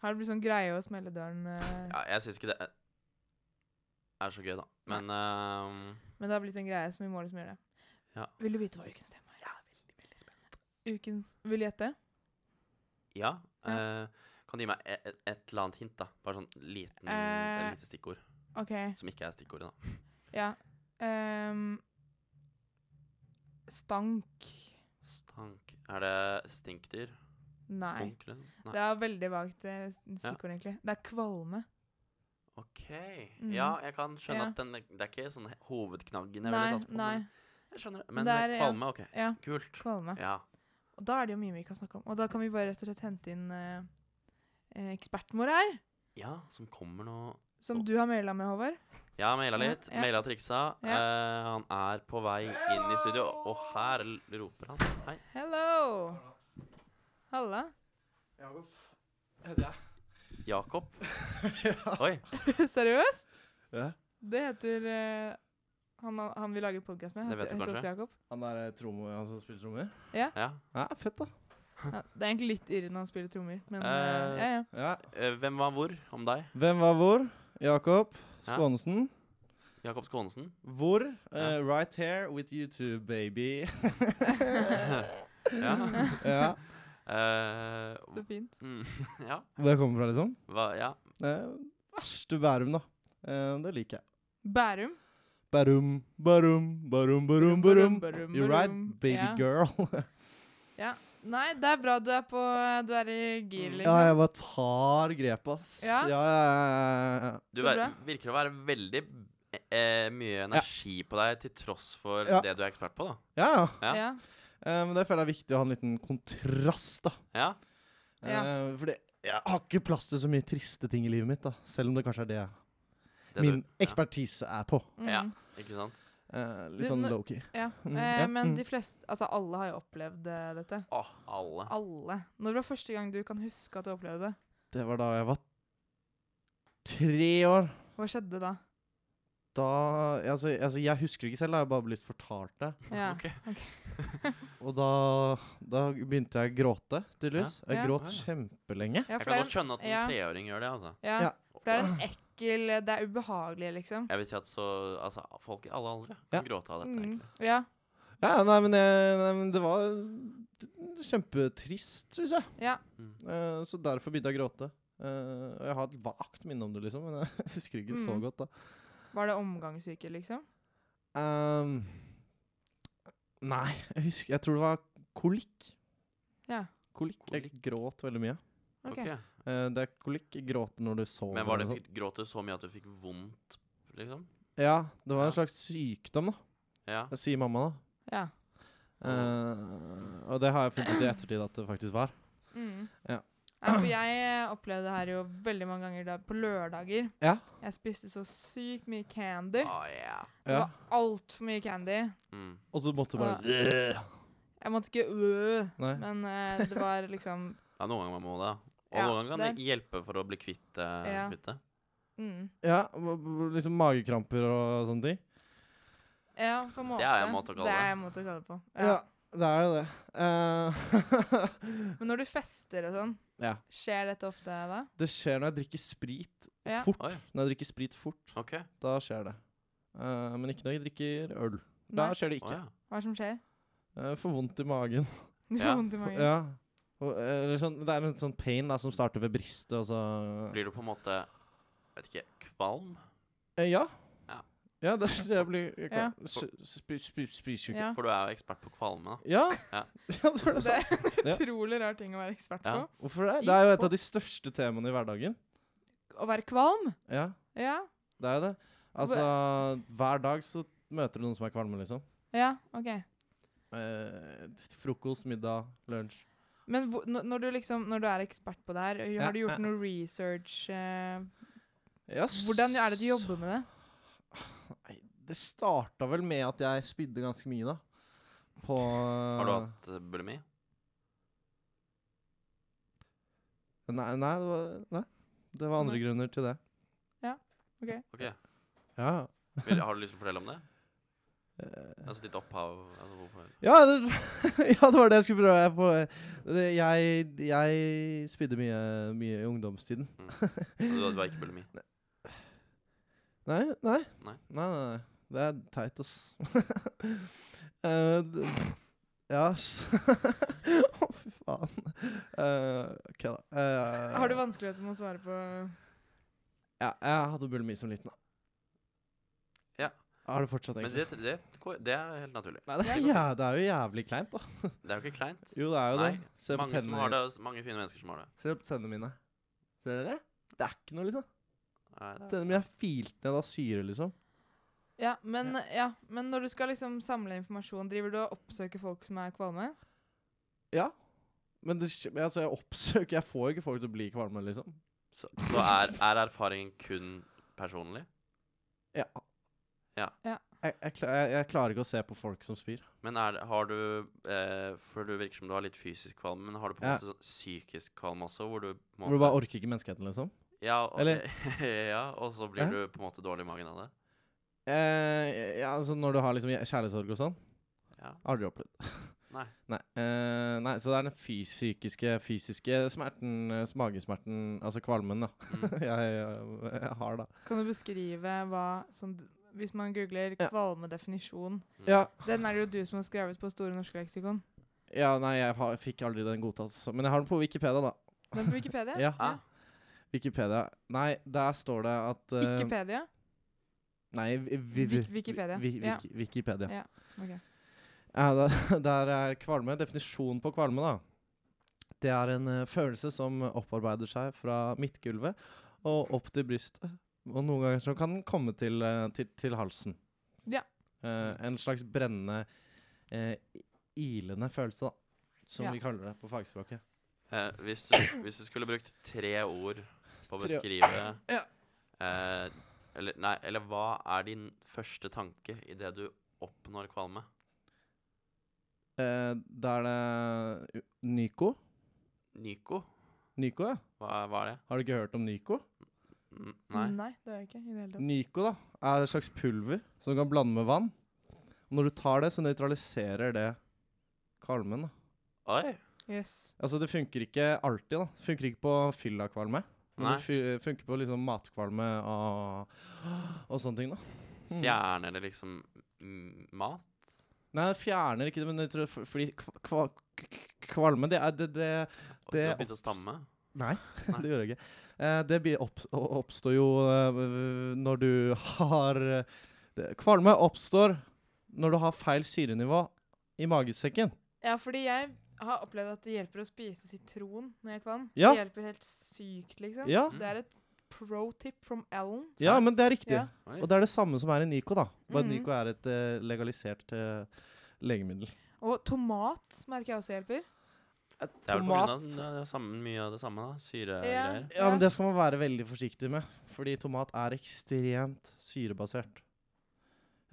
Speaker 3: Har det blitt sånn greie å smelle døren eh,
Speaker 2: Ja, jeg syns ikke det er- er så gøy, da. Men ehm,
Speaker 3: Men det har blitt en greie som vi må liksom gjøre det.
Speaker 2: Ja.
Speaker 3: Vil du vite hva ukens tema er? Ukens Vil du gjette?
Speaker 2: Ja.
Speaker 3: Ja.
Speaker 2: eh, kan du gi meg et, et, et eller annet hint, da? Bare sånn liten,
Speaker 3: Eh.
Speaker 2: et lite stikkord.
Speaker 3: OK.
Speaker 2: Som ikke er stikkordet, da.
Speaker 3: Ja. Ehm, stank.
Speaker 2: Stank Er det stinkdyr?
Speaker 3: Nei.
Speaker 2: Stunk, liksom?
Speaker 3: Det
Speaker 2: Nei.
Speaker 3: er veldig vagt eh, stikkord, egentlig. Det er kvalme.
Speaker 2: OK.
Speaker 3: Mhm.
Speaker 2: Ja, jeg kan skjønne
Speaker 3: Ja.
Speaker 2: at den, det er ikke sånn he- hovedknaggen jeg
Speaker 3: Nei,
Speaker 2: ville satt på.
Speaker 3: nei.
Speaker 2: men Jeg skjønner. Men
Speaker 3: Det er, ja.
Speaker 2: kvalme, OK.
Speaker 3: Ja,
Speaker 2: Kult.
Speaker 3: kvalme.
Speaker 2: Ja.
Speaker 3: Og da er det jo mye vi kan snakke om. Og da kan vi bare rett og slett hente inn eh, eh, eksperten vår her,
Speaker 2: ja, som kommer nå
Speaker 3: som
Speaker 2: Og-
Speaker 3: du har maila med, Håvard.
Speaker 2: Jeg har maila
Speaker 3: Ja,
Speaker 2: litt.
Speaker 3: ja.
Speaker 2: Maila triksa.
Speaker 3: Ja.
Speaker 2: Eh, han er på vei inn i studio, og her l- roper han. Hei.
Speaker 3: Hello! Halla.
Speaker 1: Jakob heter jeg.
Speaker 2: Jakob. Oi.
Speaker 3: Seriøst?
Speaker 1: Ja.
Speaker 3: Det heter eh, han, han vi lager podkast med,
Speaker 2: Det
Speaker 3: heter,
Speaker 2: vet du
Speaker 3: heter
Speaker 2: kanskje?
Speaker 3: også Jakob.
Speaker 1: Han er eh, tromme, han som spiller trommer?
Speaker 2: Ja.
Speaker 1: Ja, fett, da.
Speaker 3: Ja, det er egentlig litt irrende han spiller trommer, men
Speaker 2: Eh,
Speaker 3: eh, ja, ja.
Speaker 1: Ja.
Speaker 2: Eh, hvem var hvor om deg?
Speaker 1: Hvem var hvor? Jakob
Speaker 2: Ja.
Speaker 1: Skånesen.
Speaker 2: Jakob Skånesen?
Speaker 1: Hvor?
Speaker 2: Ja.
Speaker 1: Eh, right here with you two, baby.
Speaker 2: Ja.
Speaker 1: ja.
Speaker 2: Eh,
Speaker 3: Så fint.
Speaker 2: mm, ja.
Speaker 1: Hvor jeg kommer fra, liksom?
Speaker 2: Hva, ja.
Speaker 1: Eh, verste Bærum, da. Eh, det liker jeg.
Speaker 3: Bærum.
Speaker 1: Bærum, Bærum, Bærum, Bærum, Bærum.
Speaker 3: Barum,
Speaker 1: You're right,
Speaker 3: barum.
Speaker 1: baby
Speaker 3: ja.
Speaker 1: girl.
Speaker 3: Ja. Nei, det er bra du er på Du er i gir,
Speaker 2: Mm.
Speaker 1: ja,
Speaker 3: liksom.
Speaker 1: jeg bare tar grepet, ass. Ja,
Speaker 3: Ja.
Speaker 1: ja, ja. ja, ja.
Speaker 2: Du
Speaker 3: Så
Speaker 2: ver-
Speaker 3: bra.
Speaker 2: virker å være veldig eh, mye energi på deg til tross for
Speaker 1: Ja.
Speaker 2: det du er ekspert på, da.
Speaker 1: ja, ja.
Speaker 2: Ja.
Speaker 3: Ja.
Speaker 1: Eh, men det føler jeg er viktig å ha en liten kontrast, da.
Speaker 2: Ja.
Speaker 3: Ja.
Speaker 1: Eh, fordi jeg har ikke plass til så mye triste ting i livet mitt, da. Selv om det kanskje er det, jeg-
Speaker 2: Det
Speaker 1: min
Speaker 2: du,
Speaker 1: ekspertise er på.
Speaker 3: Mm.
Speaker 2: Ja. ja. Ikke sant?
Speaker 1: Eh,
Speaker 3: Du,
Speaker 1: litt sånn
Speaker 3: nå-
Speaker 1: low-key.
Speaker 3: Ja,
Speaker 1: Mm,
Speaker 3: eh,
Speaker 1: ja,
Speaker 3: men
Speaker 1: mm.
Speaker 3: de fleste Altså, alle har jo opplevd eh, dette.
Speaker 2: Å, alle.
Speaker 3: Alle. Når var første gang du kan huske at du opplevde det?
Speaker 1: Det var da jeg var tre år.
Speaker 3: Hva skjedde da?
Speaker 1: Da altså, altså, jeg husker ikke selv, da. jeg har bare blitt fortalt det.
Speaker 3: Ja.
Speaker 2: Ok.
Speaker 1: Og da, da begynte jeg å gråte, tydeligvis. Jeg
Speaker 3: Ja.
Speaker 1: gråt
Speaker 2: Ja.
Speaker 1: kjempelenge.
Speaker 3: Ja,
Speaker 2: Jeg
Speaker 3: for det
Speaker 2: kan
Speaker 3: er,
Speaker 2: godt skjønne at en
Speaker 3: ja.
Speaker 2: treåring gjør det, altså.
Speaker 3: en- ja,
Speaker 1: Ja.
Speaker 3: for det er en ekkel eh, Det er ubehagelig, liksom.
Speaker 2: Jeg vil si at så Altså, folk i alle aldre
Speaker 1: Ja.
Speaker 2: kan gråte av dette,
Speaker 3: Mm.
Speaker 2: egentlig.
Speaker 3: Ja.
Speaker 1: Ja, nei, men, jeg, nei, men det var d- kjempetrist, syns jeg.
Speaker 3: Ja.
Speaker 2: Mm.
Speaker 1: Eh, så derfor begynte jeg å gråte. Eh, og jeg har et vagt minne om det, liksom, men jeg husker ikke så
Speaker 3: Mm.
Speaker 1: godt. da.
Speaker 3: Var det omgangssyke, liksom?
Speaker 1: Ehm, nei, jeg husker Jeg tror det var kolikk.
Speaker 3: Ja.
Speaker 1: Kolikk. Jeg
Speaker 2: Kolikk.
Speaker 1: gråt veldig mye.
Speaker 3: Ok.
Speaker 2: Ok.
Speaker 1: Eh, det er kolikk gråte når du sover. sånn.
Speaker 2: Men var det,
Speaker 1: eller noe
Speaker 2: fikk, gråt du så mye at du fikk vondt, liksom?
Speaker 1: sånt. Ja, det var en
Speaker 2: Ja.
Speaker 1: slags sykdom, da.
Speaker 2: Ja.
Speaker 1: Det sier mamma, da.
Speaker 3: Ja.
Speaker 1: Eh, og det har jeg funnet ut i ettertid at det faktisk var.
Speaker 3: Mm.
Speaker 1: Ja.
Speaker 3: Nei, for jeg eh, opplevde det her jo veldig mange ganger da, på lørdager.
Speaker 1: Ja.
Speaker 3: Jeg spiste så sykt mye candy.
Speaker 2: Å, ja.
Speaker 3: Det
Speaker 1: Ja.
Speaker 3: var altfor mye candy.
Speaker 2: Mm.
Speaker 1: Og så måtte du bare
Speaker 3: Jeg måtte ikke øh,
Speaker 1: Nei.
Speaker 3: men eh, det var liksom
Speaker 2: ja, noen ganger man må det. Og
Speaker 3: Ja,
Speaker 2: noen ganger kan det
Speaker 3: det
Speaker 2: hjelpe for å bli kvitt eh,
Speaker 3: Ja.
Speaker 2: kvitt det.
Speaker 3: mm.
Speaker 1: Ja, b- b- liksom magekramper og sånne ting.
Speaker 3: Ja, på en måte.
Speaker 2: Det er en måte å kalle
Speaker 3: Det
Speaker 2: det.
Speaker 3: er en måte å kalle det på. Ja.
Speaker 1: Ja, det er jo det. Eh,
Speaker 3: Men når du fester og sånn,
Speaker 1: ja.
Speaker 3: skjer dette ofte da?
Speaker 1: Det skjer når jeg drikker sprit
Speaker 3: Ja.
Speaker 1: fort.
Speaker 2: Oi,
Speaker 1: Når jeg drikker sprit fort,
Speaker 2: OK.
Speaker 1: da skjer det. Eh, men ikke når jeg drikker øl. Da
Speaker 3: Nei.
Speaker 1: skjer det
Speaker 2: Å,
Speaker 1: ikke.
Speaker 2: ja.
Speaker 3: Hva er det som skjer?
Speaker 1: Jeg får vondt i magen.
Speaker 3: Du får
Speaker 2: Ja.
Speaker 3: vondt i magen.
Speaker 1: Ja. Og, eller sånn, det er en sånn pain da, som starter ved bristet, og så
Speaker 2: Blir du på en måte Vet ikke. Kvalm?
Speaker 1: Eh, Ja.
Speaker 2: Ja.
Speaker 1: Ja, det, det blir jeg
Speaker 3: Ja.
Speaker 1: kan- s- sp- sp- Spysyke.
Speaker 3: Ja.
Speaker 2: For du er jo ekspert på kvalme. da.
Speaker 1: Ja.
Speaker 2: Ja.
Speaker 1: ja, det er det
Speaker 3: Det
Speaker 1: sant.
Speaker 3: er en
Speaker 1: Ja.
Speaker 3: utrolig rar ting å være ekspert på.
Speaker 2: Ja.
Speaker 1: Hvorfor det?
Speaker 3: I-
Speaker 1: Det er jo et
Speaker 3: på-
Speaker 1: av de største temaene i hverdagen.
Speaker 3: Å være kvalm?
Speaker 1: Ja,
Speaker 3: Ja.
Speaker 1: det er jo det. Altså, hver dag så møter du noen som er kvalme, liksom.
Speaker 3: Ja, OK.
Speaker 1: Eh, frokost, middag, lunsj.
Speaker 3: Men hvor, når, når du liksom, når du er ekspert på det her,
Speaker 1: Ja,
Speaker 3: har du
Speaker 1: ja.
Speaker 3: gjort noe research? eh,
Speaker 1: Ja,
Speaker 3: hvordan er det du
Speaker 1: s-
Speaker 3: jobber med det?
Speaker 1: Nei, Det starta vel med at jeg spydde ganske mye, da. På
Speaker 2: Har du
Speaker 1: Ah.
Speaker 2: hatt eh, bulimi?
Speaker 1: Nei, nei, det var, nei. Det var andre
Speaker 3: Nei.
Speaker 1: grunner til det.
Speaker 2: Ok.
Speaker 1: Ja,
Speaker 2: Vil, har du lyst til å fortelle om det?
Speaker 1: Eh,
Speaker 2: Altså ditt opphav? Altså hvorfor?
Speaker 1: ja, det, ja det var det jeg skulle prøve på. Det, jeg, jeg spydde mye, mye i ungdomstiden.
Speaker 2: Du, altså, du har ikke bulimi?
Speaker 1: Nei, nei.
Speaker 2: Nei.
Speaker 1: nei, nei, nei. Det er teit, ass. Eh, d- Ja, s- Å, fy faen. Eh, ok, da. Eh,
Speaker 3: Har du vanskeligheter med å svare på
Speaker 1: Ja, jeg hadde bulimi som liten. da.
Speaker 2: Ja.
Speaker 1: Har du fortsatt,
Speaker 2: Men
Speaker 1: egentlig?
Speaker 2: det, det, det er helt naturlig.
Speaker 1: Nei, det, er, ja, det er jo jævlig kleint, da.
Speaker 2: Det er jo ikke kleint.
Speaker 1: Jo, det er jo
Speaker 2: Nei,
Speaker 1: det. Se på
Speaker 2: Mange, som har
Speaker 1: tennene
Speaker 2: det, mange fine mennesker som har det.
Speaker 1: Se på tennene mine. Ser dere det? Det er ikke noe, liksom.
Speaker 2: Nei, det
Speaker 1: Tennene mine er filt ned av syre, liksom.
Speaker 3: ja men, ja, men når du skal liksom samle informasjon, driver du og oppsøker folk som er kvalme?
Speaker 1: Ja. Men det, skj- altså, jeg oppsøker Jeg får jo ikke folk til å bli kvalme, liksom.
Speaker 2: så så er, er erfaringen kun personlig?
Speaker 1: Ja.
Speaker 2: Ja.
Speaker 3: Ja.
Speaker 1: Jeg, jeg, kla- jeg, jeg klarer ikke å se på folk som spyr.
Speaker 2: Men er, det- har du eh, For du virker som du har litt fysisk kvalme, men har du på en
Speaker 1: Ja.
Speaker 2: måte sånn psykisk kvalme også? Hvor du på en
Speaker 1: Hvor du bare
Speaker 2: måte
Speaker 1: orker ikke menneskeheten, liksom.
Speaker 2: ja, og,
Speaker 1: eller-
Speaker 2: ja, og så blir
Speaker 1: Ja.
Speaker 2: du på en måte dårlig i magen av det?
Speaker 1: Eh, ja, altså når du har liksom kjæ- kjærlighetssorg og sånn.
Speaker 2: Ja.
Speaker 1: Aldri opplevd.
Speaker 2: Nei.
Speaker 1: Nei, eh, nei, så det er den fys psykiske, fysiske smerten, eh, s- magesmerten, altså kvalmen, da.
Speaker 2: Mm.
Speaker 1: jeg, jeg, jeg har, da.
Speaker 3: Kan du beskrive hva som Hvis man googler
Speaker 1: Ja.
Speaker 3: kvalmedefinisjon
Speaker 2: Mm.
Speaker 1: Ja,
Speaker 3: Den er det jo du som har skrevet på Store norske leksikon.
Speaker 1: ja nei, jeg, har, jeg fikk aldri den godtatt, så- men jeg har den på Wikipedia, da.
Speaker 3: Den på Wikipedia?
Speaker 1: Ja,
Speaker 2: Ah,
Speaker 1: Wikipedia. Nei, der står det at eh,
Speaker 3: Wikipedia?
Speaker 1: Nei, vi, vi,
Speaker 3: Wik-
Speaker 1: vi-
Speaker 3: Wikipedia.
Speaker 1: Vi, vi,
Speaker 3: Ja.
Speaker 1: Wikipedia.
Speaker 3: Ja, ok.
Speaker 1: Ja, da- der er kvalme. Definisjonen på kvalme, da. Det er en eh, følelse som opparbeider seg fra midtgulvet og opp til brystet. Og noen ganger så kan den komme til, eh, til, til halsen.
Speaker 3: Ja.
Speaker 1: Eh, en slags brennende, eh, ilende følelse, da. Som
Speaker 3: Ja.
Speaker 1: vi kaller det på fagspråket.
Speaker 2: eh, hvis, du, hvis du skulle brukt tre ord på å
Speaker 1: Tre-
Speaker 2: beskrive
Speaker 1: Ja.
Speaker 2: eh, eller, nei, eller hva er din første tanke idet du oppnår kvalme?
Speaker 1: Eh, da er det u- Nyko.
Speaker 2: Nico?
Speaker 1: Nyko, ja.
Speaker 2: Hva, hva er det?
Speaker 1: Har du ikke hørt om Nyko?
Speaker 2: Mm, nei.
Speaker 3: det er jeg ikke. i det hele tatt.
Speaker 1: Nyko da, er et slags pulver som du kan blande med vann. Og når du tar det, så nøytraliserer det kvalmen. da.
Speaker 2: Oi!
Speaker 3: Yes.
Speaker 1: Altså, det funker ikke alltid. da. Det funker ikke på fyllakvalme. Men
Speaker 2: Nei.
Speaker 1: det fy- funker på liksom matkvalme og, og sånne ting. da. Mm.
Speaker 2: Fjerner det liksom mm, mat?
Speaker 1: Nei, det fjerner ikke det, men jeg tror, for- fordi kva, kva, k- kvalme, det er det, det
Speaker 2: Og
Speaker 1: Det
Speaker 2: du har begynt å
Speaker 1: opps-
Speaker 2: stamme?
Speaker 1: Nei,
Speaker 2: Nei.
Speaker 1: det gjør jeg ikke. Eh, det blir opps å- oppstår jo eh, når du har eh, det- Kvalme oppstår når du har feil syrenivå i magesekken.
Speaker 3: Ja, fordi jeg har opplevd at det hjelper å spise sitron når jeg er kvalm.
Speaker 1: Ja.
Speaker 3: Det hjelper helt sykt, liksom.
Speaker 1: Ja.
Speaker 3: Det er et pro tip from Ellen.
Speaker 1: Ja, men det er riktig.
Speaker 3: Ja.
Speaker 2: Oi.
Speaker 1: Og det er det samme som er i Nico, da. Bare
Speaker 3: Mhm.
Speaker 1: Nico er et eh, legalisert eh, legemiddel.
Speaker 3: Og tomat merker jeg også hjelper.
Speaker 2: Det er vel på grunn av
Speaker 1: Tomat
Speaker 2: den, eh, samme, mye av det samme, da.
Speaker 3: Ja.
Speaker 2: Syregreier.
Speaker 1: Ja, men det skal man være veldig forsiktig med. Fordi tomat er ekstremt syrebasert.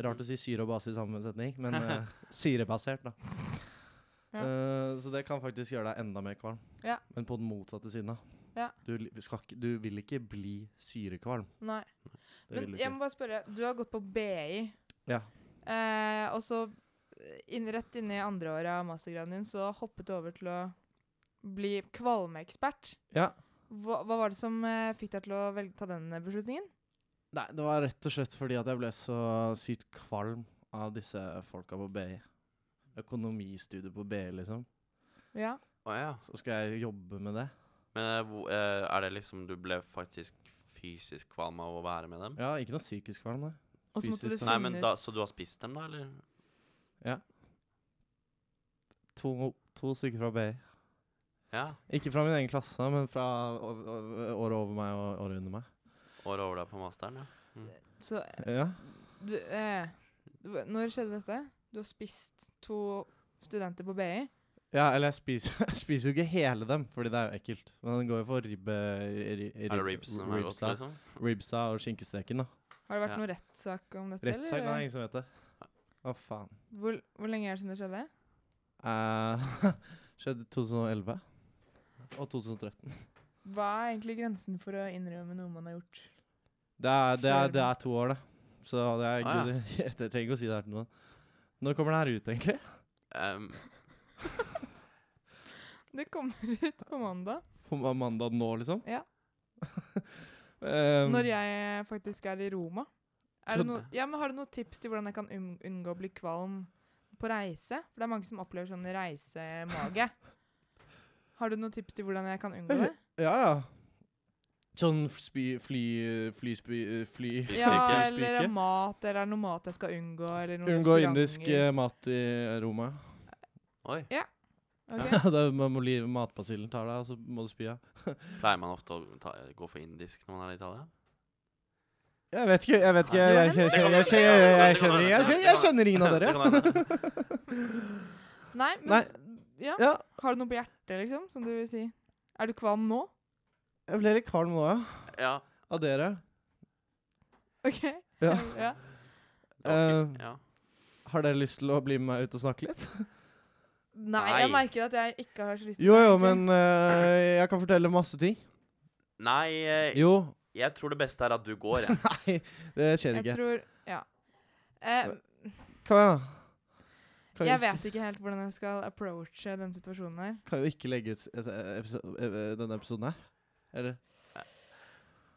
Speaker 1: Rart å si syre og base i samme setning, men eh, syrebasert, da.
Speaker 3: Ja.
Speaker 1: Eh, så det kan faktisk gjøre deg enda mer kvalm.
Speaker 3: Ja.
Speaker 1: Men på den motsatte siden. da.
Speaker 3: Ja.
Speaker 1: Du, li- skal, ikke- du vil ikke bli syrekvalm.
Speaker 3: Nei.
Speaker 1: Det
Speaker 3: Men
Speaker 1: vil du
Speaker 3: jeg
Speaker 1: ikke.
Speaker 3: må bare spørre, du har gått på BI.
Speaker 1: Ja.
Speaker 3: Eh, og så eh, inn, rett inne i andre året av mastergraden din, så hoppet du over til å bli kvalmeekspert.
Speaker 1: Ja.
Speaker 3: Hva, hva var det som eh, fikk deg til å velge, ta den eh, beslutningen?
Speaker 1: Nei, det var rett og slett fordi at jeg ble så sykt kvalm av disse folka på BI. Økonomistudiet på BI, liksom.
Speaker 3: Ja.
Speaker 2: Å ja.
Speaker 1: Så skal jeg jobbe med det.
Speaker 2: Men eh, hvor- eh, er det liksom du ble faktisk fysisk kvalm av å være med dem?
Speaker 1: Ja, ikke noe psykisk kvalm, nei.
Speaker 3: Og så måtte du
Speaker 1: Fysisk,
Speaker 3: finne
Speaker 2: Nei, men da,
Speaker 3: ut
Speaker 2: Så du har spist dem, da, eller?
Speaker 1: To, to stykker fra BI.
Speaker 2: Ja.
Speaker 1: Ikke fra min egen klasse, men fra å- å- året over meg og året under meg.
Speaker 2: Året over deg på masteren, ja.
Speaker 3: Så
Speaker 1: Ja.
Speaker 3: du, eh, du, Når skjedde dette? Du har spist to studenter på BI.
Speaker 1: ja eller jeg spiser, jeg spiser jo ikke hele dem, fordi det er jo ekkelt. Men den går jo for ribbe... ri-
Speaker 2: Er det ribs som er godt,
Speaker 1: ribsa,
Speaker 2: liksom?
Speaker 1: ribsa og skinkesteken, da.
Speaker 3: Har det vært
Speaker 2: Ja.
Speaker 3: noen rettssak om dette?
Speaker 1: Rettssak? Nei,
Speaker 3: eller?
Speaker 1: ingen som vet det. Å, faen.
Speaker 3: Hvor, hvor lenge er det siden det skjedde?
Speaker 1: Eh, skjedde 2011 og 2013.
Speaker 3: Hva er egentlig grensen for å innrømme noe man har gjort?
Speaker 1: Det er, det er,
Speaker 3: Før
Speaker 1: det
Speaker 3: man-
Speaker 1: er to år, det. Så det er
Speaker 2: Ah,
Speaker 1: gud, jeg trenger ikke å si det her til noen. Når kommer det her ut, egentlig?
Speaker 2: Em,
Speaker 3: Det kommer ut på mandag.
Speaker 1: På ma- mandag nå, liksom?
Speaker 3: Ja.
Speaker 1: Ehm,
Speaker 3: Når jeg faktisk er i Roma. Er
Speaker 1: så-
Speaker 3: det noe, ja, men har du noen tips til hvordan jeg kan unn- unngå å bli kvalm på reise? For det er mange som opplever sånn reisemage. Har du noen tips til hvordan jeg kan unngå det?
Speaker 1: Ja, ja. Sånn spy, fly, flyspy, fly
Speaker 3: Ja,
Speaker 2: Ikke
Speaker 3: eller
Speaker 1: spyke.
Speaker 3: mat, eller er det noe mat jeg skal unngå, eller noen
Speaker 1: Unngå indisk
Speaker 3: restauranter?
Speaker 1: eh, mat i Roma.
Speaker 2: Oi.
Speaker 3: Ok.
Speaker 1: Ja, da må- må li- Matbasillen tar deg, og så må du spy av.
Speaker 2: Pleier man ofte å ta, gå for indisk når man er i Italia?
Speaker 1: Jeg vet ikke. Jeg vet ikke, jeg, jeg, jeg, jeg, jeg, jeg, jeg, skjønner- jeg, skjønner- jeg skjønner ingen av dere.
Speaker 2: Det kan hende.
Speaker 3: Nei, men
Speaker 1: Nei.
Speaker 3: s- Ja.
Speaker 1: Ja,
Speaker 3: Har du noe på hjertet, liksom, som du vil si? Er du kvalm nå?
Speaker 1: jeg ble litt kvalm nå, ja.
Speaker 2: Ja.
Speaker 1: Av dere.
Speaker 3: OK?
Speaker 1: Ja.
Speaker 2: det
Speaker 3: ja.
Speaker 2: var ikke-
Speaker 1: Eh,
Speaker 2: ja.
Speaker 1: Har dere lyst til å bli med meg ut og snakke litt?
Speaker 3: Nei, jeg
Speaker 2: Nei.
Speaker 3: merker at jeg ikke har så lyst til
Speaker 1: Jo
Speaker 3: å
Speaker 1: jo,
Speaker 3: snakke.
Speaker 1: men eh, jeg kan fortelle masse ting.
Speaker 2: Nei, eh,
Speaker 1: Jo.
Speaker 2: jeg tror det beste er at du går, jeg.
Speaker 1: Nei, det skjer
Speaker 3: Jeg
Speaker 1: ikke.
Speaker 3: tror Ja. Eh,
Speaker 1: Kom igjen, da. Kan,
Speaker 3: jeg
Speaker 1: vi-
Speaker 3: vet ikke helt hvordan jeg skal approache den situasjonen her.
Speaker 1: kan jo ikke legge ut eh, episo- eh, denne episoden her. Eller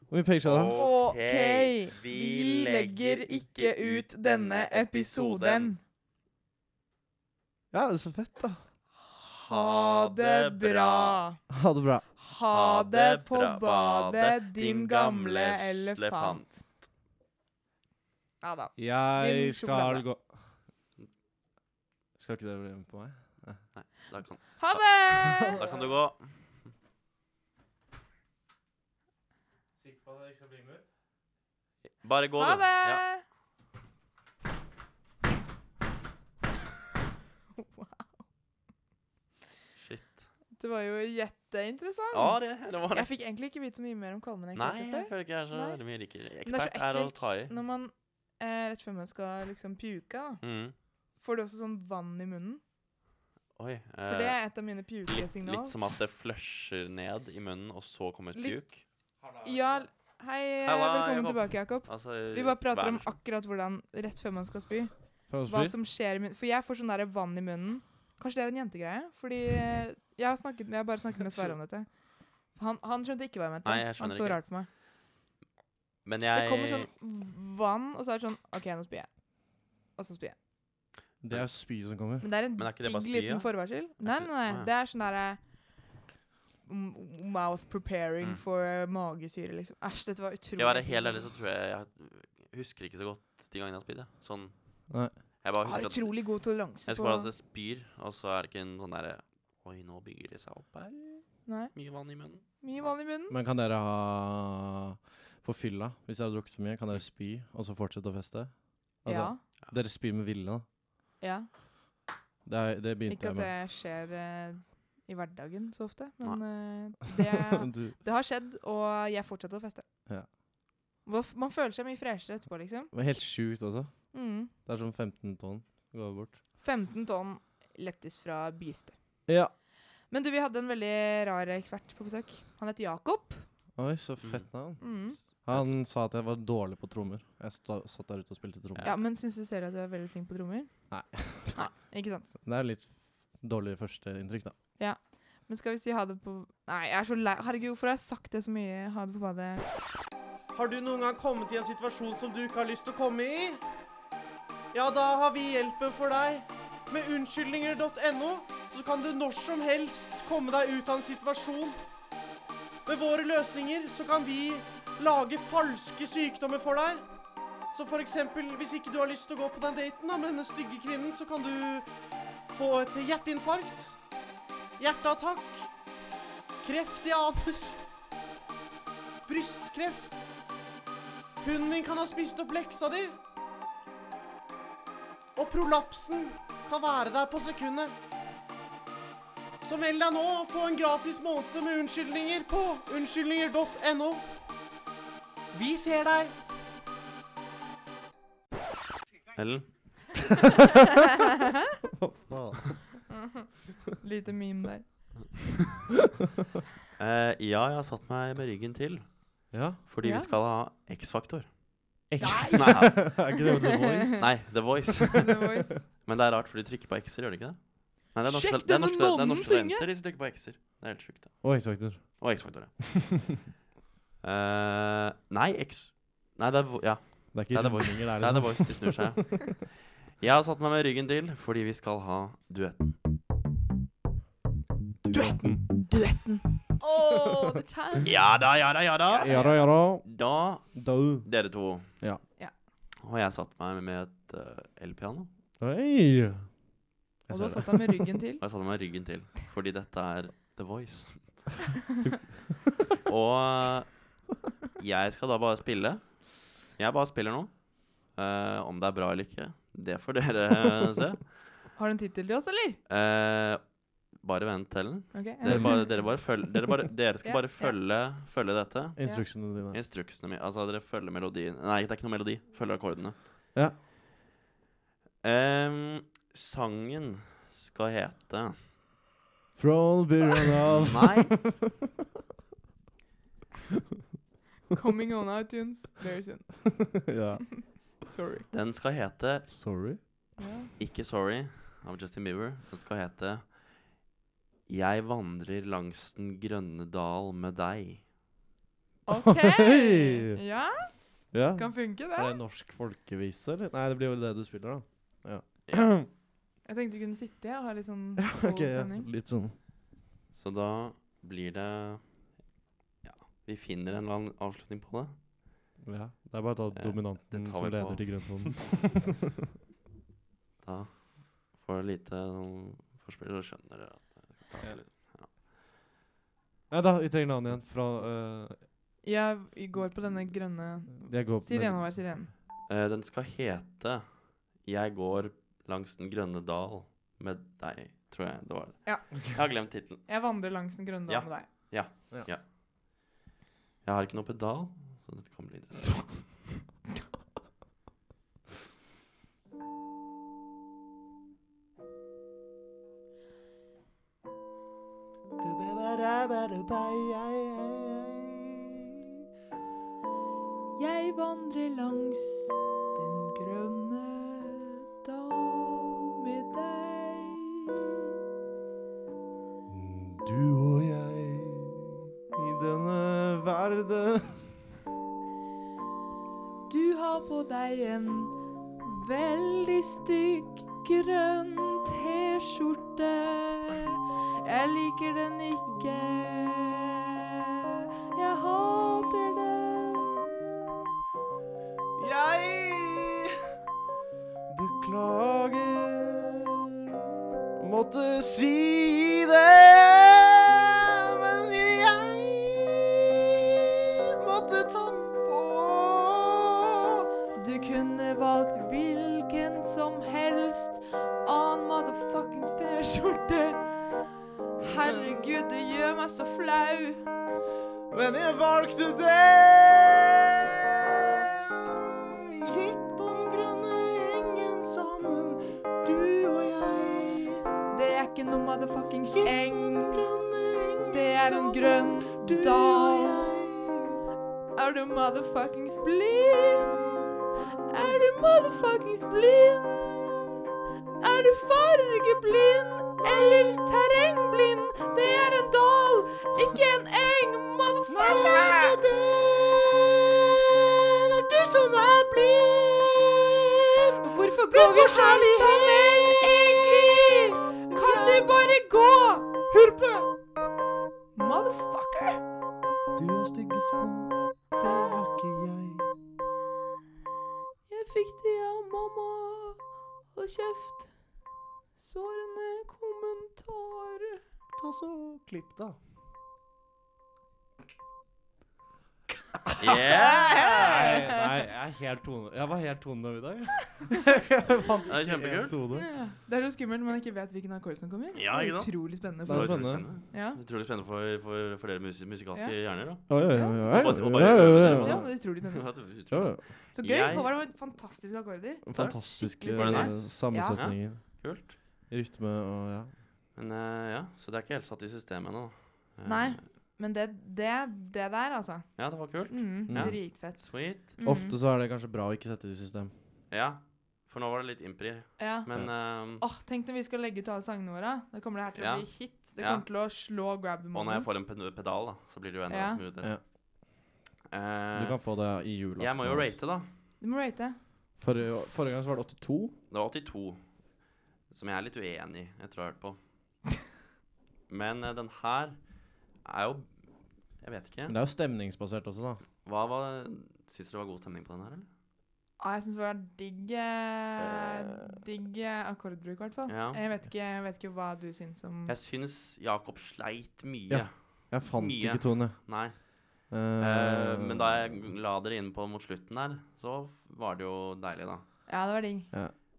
Speaker 1: Hvor mye penger skal du ha?
Speaker 2: Ok,
Speaker 3: Ok, Vi legger ikke ut denne episoden.
Speaker 1: Ja, det er så fett, da.
Speaker 3: Ha det bra.
Speaker 1: Ha det bra.
Speaker 3: Ha det på badet, din gamle elefant. Ja da. Din
Speaker 1: Jeg
Speaker 3: sjokolade.
Speaker 1: gå Skal ikke dere bli med på meg?
Speaker 2: Da kan,
Speaker 3: Ha det!
Speaker 2: da kan du gå.
Speaker 1: Sikker på at dere ikke skal bli med ut?
Speaker 2: Bare gå,
Speaker 3: Ha
Speaker 2: du. Ja.
Speaker 3: det!
Speaker 2: Shit.
Speaker 3: Det var jo jetteinteressant.
Speaker 2: Ja, det, det var det.
Speaker 3: Jeg fikk egentlig ikke vite så mye mer om kvalmen enn jeg
Speaker 2: Nei,
Speaker 3: ikke
Speaker 2: jeg
Speaker 3: visste før.
Speaker 2: føler ikke jeg er så
Speaker 3: Nei.
Speaker 2: veldig mye rikere.
Speaker 3: det er så
Speaker 2: Ekspert er å
Speaker 3: ekkelt
Speaker 2: ta i.
Speaker 3: Når man eh, rett før man skal liksom puke, da,
Speaker 2: Mm.
Speaker 3: får du også sånn vann i munnen.
Speaker 2: Oi.
Speaker 3: For det
Speaker 2: eh,
Speaker 3: er et av mine
Speaker 2: litt,
Speaker 3: pukesignal.
Speaker 2: litt som at det flusher ned i munnen, og så kommer et
Speaker 3: Litt.
Speaker 2: puk.
Speaker 3: Ja, l- hei, eh,
Speaker 2: Halla,
Speaker 3: velkommen
Speaker 2: Jakob.
Speaker 3: tilbake, Jakob.
Speaker 2: Altså,
Speaker 3: Vi bare prater
Speaker 2: vær
Speaker 3: om
Speaker 2: så-
Speaker 3: akkurat hvordan rett før man skal spy.
Speaker 1: Får jeg
Speaker 3: Hva
Speaker 1: spy?
Speaker 3: som skjer i munnen. For jeg får sånn der vann i munnen. Kanskje det er en jentegreie? Fordi eh, jeg har, snakket, jeg har bare snakket med Sverre om dette. Han, han skjønte ikke hva jeg mente.
Speaker 2: Nei, jeg
Speaker 3: han
Speaker 2: skjønner
Speaker 3: så
Speaker 2: ikke.
Speaker 3: rart på meg.
Speaker 2: Men
Speaker 3: Det kommer
Speaker 2: jeg
Speaker 3: sånn vann, og så er det sånn OK, nå spyr jeg. Og så spyr jeg.
Speaker 1: Det er spyet som kommer.
Speaker 3: Men det er en
Speaker 2: Men er ikke det bare
Speaker 3: digg
Speaker 2: spy,
Speaker 3: liten
Speaker 2: ja?
Speaker 3: forvarsel. Nei,
Speaker 2: ikke-
Speaker 3: nei, nei.
Speaker 2: nei.
Speaker 3: Det er sånn derre Mouth preparing
Speaker 2: Mm.
Speaker 3: for magesyre, liksom. Æsj, dette var
Speaker 2: Skal
Speaker 3: utrolig
Speaker 2: jeg være
Speaker 3: ekkelt.
Speaker 2: helt ærlig, så tror jeg jeg husker ikke så godt de gangene jeg har spydd. jeg. Sånn.
Speaker 1: Nei.
Speaker 2: Jeg bare
Speaker 3: Jeg har
Speaker 2: husker at, jeg
Speaker 3: utrolig god toleranse
Speaker 2: husker bare at
Speaker 3: på
Speaker 2: det spyr, og så er det ikke en sånn derre Oi, nå bygger det seg opp her.
Speaker 3: Nei,
Speaker 2: Mye vann i munnen.
Speaker 3: mye vann i munnen.
Speaker 1: Men kan dere ha På fylla, hvis dere har drukket for mye, kan dere spy og så fortsette å feste?
Speaker 3: Ja.
Speaker 1: Altså, Dere spyr med vilje, da.
Speaker 3: ja.
Speaker 1: Det, er, det begynte jeg
Speaker 3: Ikke at
Speaker 1: med.
Speaker 3: det skjer eh, i hverdagen så ofte, men eh, det,
Speaker 1: du,
Speaker 3: det har skjedd, og jeg fortsetter å feste.
Speaker 1: Ja.
Speaker 3: Hva f- Man føler seg mye freshere etterpå, liksom.
Speaker 1: det var helt sjukt også.
Speaker 3: Mm.
Speaker 1: Det er sånn 15 tonn går bort.
Speaker 3: 15 tonn lettis fra Bystø.
Speaker 1: Ja.
Speaker 3: Men du, vi hadde en veldig rar ekspert på besøk. Han heter Jakob.
Speaker 1: Oi, så fett navn.
Speaker 3: Mm.
Speaker 1: Han sa at jeg var dårlig på trommer. Jeg sta, satt der ute og spilte trommer.
Speaker 3: Ja. men syns du selv at du er veldig flink på trommer?
Speaker 1: Nei.
Speaker 3: Nei. Ikke sant.
Speaker 1: Det er litt dårlig førsteinntrykk, da.
Speaker 3: Men skal vi si ha det på Nei, jeg er så lei. Herregud, hvorfor har jeg sagt det så mye? Ha det på badet.
Speaker 1: Har du noen gang kommet i en situasjon som du ikke har lyst til å komme i? Ja, da har vi hjelpen for deg. Med unnskyldninger.no så kan du når som helst komme deg ut av en situasjon. Med våre løsninger så kan vi lage falske sykdommer for deg. Så for eksempel, hvis ikke du har lyst til å gå på den daten da, med denne stygge kvinnen, så kan du få et hjerteinfarkt, hjerteattakk, kreft i anus, brystkreft. Hunden din kan ha spist opp leksa di. Og prolapsen kan være der på sekundet. Så meld deg nå og få en gratis måned med unnskyldninger på unnskyldninger.no. Vi ser deg.
Speaker 2: Ellen?
Speaker 3: Lite meme der.
Speaker 2: Eh, ja, jeg har satt meg med ryggen til,
Speaker 1: Ja,
Speaker 2: fordi
Speaker 3: Ja.
Speaker 2: vi skal ha X-faktor.
Speaker 4: Nei!
Speaker 2: Nei,
Speaker 1: er ikke det The Voice?
Speaker 2: nei, The Voice.
Speaker 3: The Voice.
Speaker 2: Men det er rart, for de trykker på X-er, gjør de ikke det? Nei, det er norske,
Speaker 3: Sjekk
Speaker 2: det er
Speaker 3: denne
Speaker 2: norske, det er
Speaker 3: nonnen
Speaker 2: norske
Speaker 3: synge!
Speaker 2: studenter de som trykker på X-er. Det er helt sjukt. det.
Speaker 1: Og X-Factor.
Speaker 2: Og X-faktor, ja. Eh, nei, X... Nei, det er, vo-
Speaker 1: Det
Speaker 2: ja,
Speaker 1: er
Speaker 2: Nei,
Speaker 1: ikke
Speaker 2: det er liksom.
Speaker 1: rundinger
Speaker 2: Nei,
Speaker 1: der.
Speaker 2: det er Voice. De snur seg. Jeg har satt meg med ryggen til fordi vi skal ha duetten.
Speaker 1: Duetten!
Speaker 3: Duetten. Å, det er
Speaker 2: Ja da, ja da, ja da.
Speaker 1: Ja da, ja da.
Speaker 2: Da,
Speaker 1: Dau.
Speaker 2: dere to.
Speaker 1: Ja.
Speaker 3: Ja.
Speaker 2: Og jeg satt meg med et eh, elpiano.
Speaker 1: Hei! Jeg
Speaker 3: Og da
Speaker 1: ser det.
Speaker 3: satt han med ryggen til.
Speaker 2: Og jeg satte meg med ryggen til fordi dette er The Voice. Og eh, jeg skal da bare spille. Jeg bare spiller nå. Eh, om det er bra eller ikke, det får dere se.
Speaker 3: Har du en tittel til oss, eller?
Speaker 2: Eh, bare vent til den.
Speaker 3: Ok, ja.
Speaker 2: Dere, bare, dere, bare følg, dere, bare, dere skal
Speaker 3: Ja,
Speaker 2: bare
Speaker 3: ja.
Speaker 2: følge, følge dette.
Speaker 1: Instruksjonene dine.
Speaker 2: Instruksene mine. Altså, dere følger melodien Nei, det er ikke noe melodi. Følger akkordene.
Speaker 1: Ja.
Speaker 2: Ehm, sangen skal hete
Speaker 1: From byrjan av
Speaker 2: Nei.
Speaker 3: Coming on iTunes very soon.
Speaker 1: Ja.
Speaker 3: Sorry.
Speaker 2: Den skal hete
Speaker 1: Sorry.
Speaker 3: Ja.
Speaker 2: Ikke Sorry av Justin Bieber. Den skal hete Jeg vandrer langs den grønne dal med deg.
Speaker 3: OK!
Speaker 1: Hei!
Speaker 3: Ja,
Speaker 1: Ja.
Speaker 3: kan funke,
Speaker 1: Er
Speaker 3: det.
Speaker 1: det norsk folkevise, eller? Nei, det blir vel det du spiller, da. Ja.
Speaker 2: Ja.
Speaker 3: Jeg tenkte vi kunne sitte og ha litt sånn
Speaker 1: ok, ja.
Speaker 3: sending.
Speaker 1: Litt sånn
Speaker 2: Så da blir det Ja, vi finner en eller annen avslutning på det.
Speaker 1: ja. Det er bare å ta
Speaker 2: Eh,
Speaker 1: dominanten
Speaker 2: det tar
Speaker 1: som
Speaker 2: vi
Speaker 1: leder
Speaker 2: på.
Speaker 1: til grønntonen.
Speaker 2: Da får du lite sånn forspill, så skjønner dere at det skal starte litt.
Speaker 1: Nei da, vi trenger en annen igjen. Fra eh,
Speaker 3: Jeg går på denne grønne
Speaker 1: Jeg går
Speaker 3: Si det igjen, Håvard. Si det igjen.
Speaker 2: Eh, den skal hete 'Jeg går langs den grønne dal med deg', tror jeg det var.
Speaker 3: Ja.
Speaker 2: Jeg har glemt tittelen.
Speaker 3: Jeg vandrer langs den grønne
Speaker 2: Ja.
Speaker 3: dalen med deg.
Speaker 2: Jeg har ikke noe pedal, så det kan bli det.
Speaker 3: Jeg vandrer langs den grønne dal med deg.
Speaker 1: Du og jeg i denne verden.
Speaker 3: Du har på deg en veldig stygg grønn T-skjorte. Jeg liker den ikke. Jeg hater den.
Speaker 1: Jeg beklager Måtte si det Men jeg måtte ta den på
Speaker 3: Du kunne valgt hvilken som helst annen motherfuckings T-skjorte. Herregud, du gjør meg så flau.
Speaker 1: Men jeg valgte den Vi gikk på den grønne hengen sammen Du og jeg
Speaker 3: Det er ikke noe motherfuckings
Speaker 1: Gikk
Speaker 3: eng.
Speaker 1: på den grønne hengen
Speaker 3: Det er en
Speaker 1: sammen,
Speaker 3: grønn
Speaker 1: Du og
Speaker 3: dal.
Speaker 1: jeg
Speaker 3: Er du motherfuckings blind? Er du motherfuckings blind? Er du fargeblind eller terrengblind? Det er en dal, ikke en eng, motherfucker! Det er du som er blind. Hvorfor går vi her sammen egentlig? Kan du bare gå? Hurpe! Motherfucker!
Speaker 6: Du har stygge sko, det har ikke jeg.
Speaker 3: Jeg fikk det av mamma. Hold kjeft. Sårende kommentar.
Speaker 1: Ta så klipp da
Speaker 2: Yeah!
Speaker 1: Nei, nei, jeg er helt tone Jeg var helt tonedøv i dag. Jeg fant
Speaker 2: Det er
Speaker 1: ikke
Speaker 2: kjempekult.
Speaker 1: en tone.
Speaker 3: Det er så skummelt når man ikke vet hvilken akkord som kommer.
Speaker 2: Ja,
Speaker 3: det er
Speaker 2: ikke sant?
Speaker 3: utrolig spennende.
Speaker 1: Det er
Speaker 3: For.
Speaker 1: spennende.
Speaker 3: Ja.
Speaker 2: Utrolig spennende for, for, for dere musi- musikalske hjerner. da.
Speaker 1: Oi, oi, oi, oi.
Speaker 2: Og bare- og bare-
Speaker 1: Ja, ja, ja,
Speaker 3: ja,
Speaker 1: ja.
Speaker 3: det er utrolig spennende.
Speaker 2: Ja, det er
Speaker 1: Ja,
Speaker 2: utrolig.
Speaker 1: ja.
Speaker 3: Så gøy.
Speaker 2: Jeg-
Speaker 3: Håvard, det var fantastiske akkorder.
Speaker 1: Fantastiske
Speaker 3: Skikkelig
Speaker 2: Var det
Speaker 1: eh,
Speaker 2: nice?
Speaker 1: sammensetninger.
Speaker 2: Kult.
Speaker 1: Rytme og ja.
Speaker 2: Men eh, ja, så det er ikke helt satt i systemet ennå. da. Eh,
Speaker 3: Nei. Men det, det, det der, altså.
Speaker 2: Ja, det var kult.
Speaker 3: Mm,
Speaker 1: Ja.
Speaker 3: Dritfett.
Speaker 2: Sweet.
Speaker 3: Mm.
Speaker 1: Ofte så er det kanskje bra å ikke sette det i system.
Speaker 2: Ja, for nå var det litt impri.
Speaker 3: Ja.
Speaker 2: Men ehm,
Speaker 3: Åh, Tenk når vi skal legge ut alle sangene våre. Da kommer det her til å
Speaker 2: Ja.
Speaker 3: bli hit. Det
Speaker 2: Ja.
Speaker 3: kommer til å slå grab
Speaker 2: Og når jeg får
Speaker 3: moment.
Speaker 2: en ped- pedal, da, så blir det jo enda
Speaker 3: Ja.
Speaker 2: smoothere.
Speaker 1: Du
Speaker 2: Eh,
Speaker 1: kan få altså. det i jula.
Speaker 2: jeg må jo rate, da.
Speaker 3: Du må rate.
Speaker 1: Forrige, forrige gang så var det 82.
Speaker 2: Det var 82, som jeg er litt uenig i etter å ha hørt på. Men eh, den her er jo Jeg vet ikke.
Speaker 1: Men det er jo stemningsbasert også, da.
Speaker 2: Hva var Syns dere det var god stemning på den her, eller?
Speaker 3: Ah, jeg syns det var digg eh, Digg eh, akkordbruk, i hvert fall.
Speaker 2: Ja.
Speaker 3: Jeg, vet ikke- jeg vet ikke hva du syns om
Speaker 2: Jeg syns Jakob sleit mye.
Speaker 1: Ja. Jeg fant
Speaker 2: Mye.
Speaker 1: ikke Tone.
Speaker 2: Nei.
Speaker 1: Eh,
Speaker 2: Eh, men da jeg la dere inn på mot slutten der, så var det jo deilig, da.
Speaker 3: Ja, det var digg.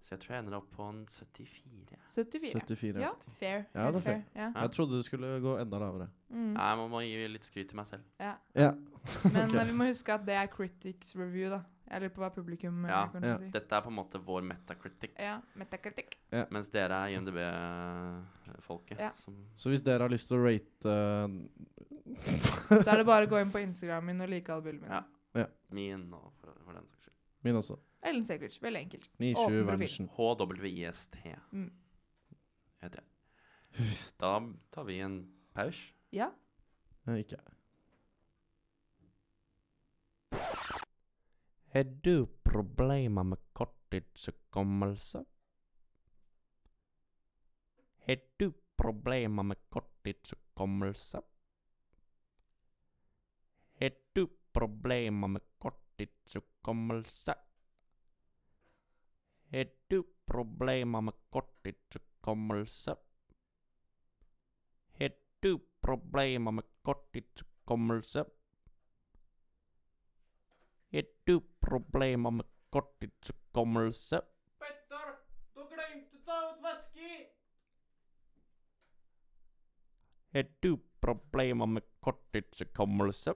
Speaker 2: Så jeg tror jeg ender opp på en 74. jeg.
Speaker 3: 74.
Speaker 1: 74.
Speaker 3: Ja, fair.
Speaker 1: Ja, det
Speaker 3: Helt
Speaker 1: er fair.
Speaker 3: Ja.
Speaker 1: Jeg trodde du skulle gå enda lavere.
Speaker 3: Mm.
Speaker 2: Nei, man må gi litt skryt til meg selv.
Speaker 1: Ja.
Speaker 3: Men
Speaker 1: Ok.
Speaker 3: eh, vi må huske at det er critics review, da. Jeg lurer på hva publikum eh,
Speaker 2: Ja.
Speaker 3: kommer til å
Speaker 1: Ja.
Speaker 3: si.
Speaker 2: Dette er på en måte vår metacritic,
Speaker 3: Ja, metakritikk.
Speaker 2: mens dere er IMDb-folket.
Speaker 3: Ja.
Speaker 2: Som
Speaker 1: Så hvis dere har lyst til å rate eh,
Speaker 3: Så er det bare å gå inn på Instagram min og like albumene.
Speaker 2: Ja.
Speaker 3: Ja.
Speaker 2: min, og for, for den saks skyld.
Speaker 1: min også.
Speaker 3: Ellen Segridge. Veldig enkelt. Åpen
Speaker 1: 97
Speaker 3: profil.
Speaker 1: Venchen.
Speaker 2: HWIST
Speaker 3: Mm.
Speaker 2: heter jeg. Da tar vi en pause.
Speaker 3: Ja.
Speaker 1: Eh, Ikke
Speaker 4: Har du problemer med korttidshukommelse? Har du problemer med korttidshukommelse? Har du problemer med korttidshukommelse? Har du problemer med korttidshukommelse? Har du problemer med korttidshukommelse? Har du problemer med korttidshukommelse? Petter, du glemte å ta ut væske! Har du problemer med korttidshukommelse?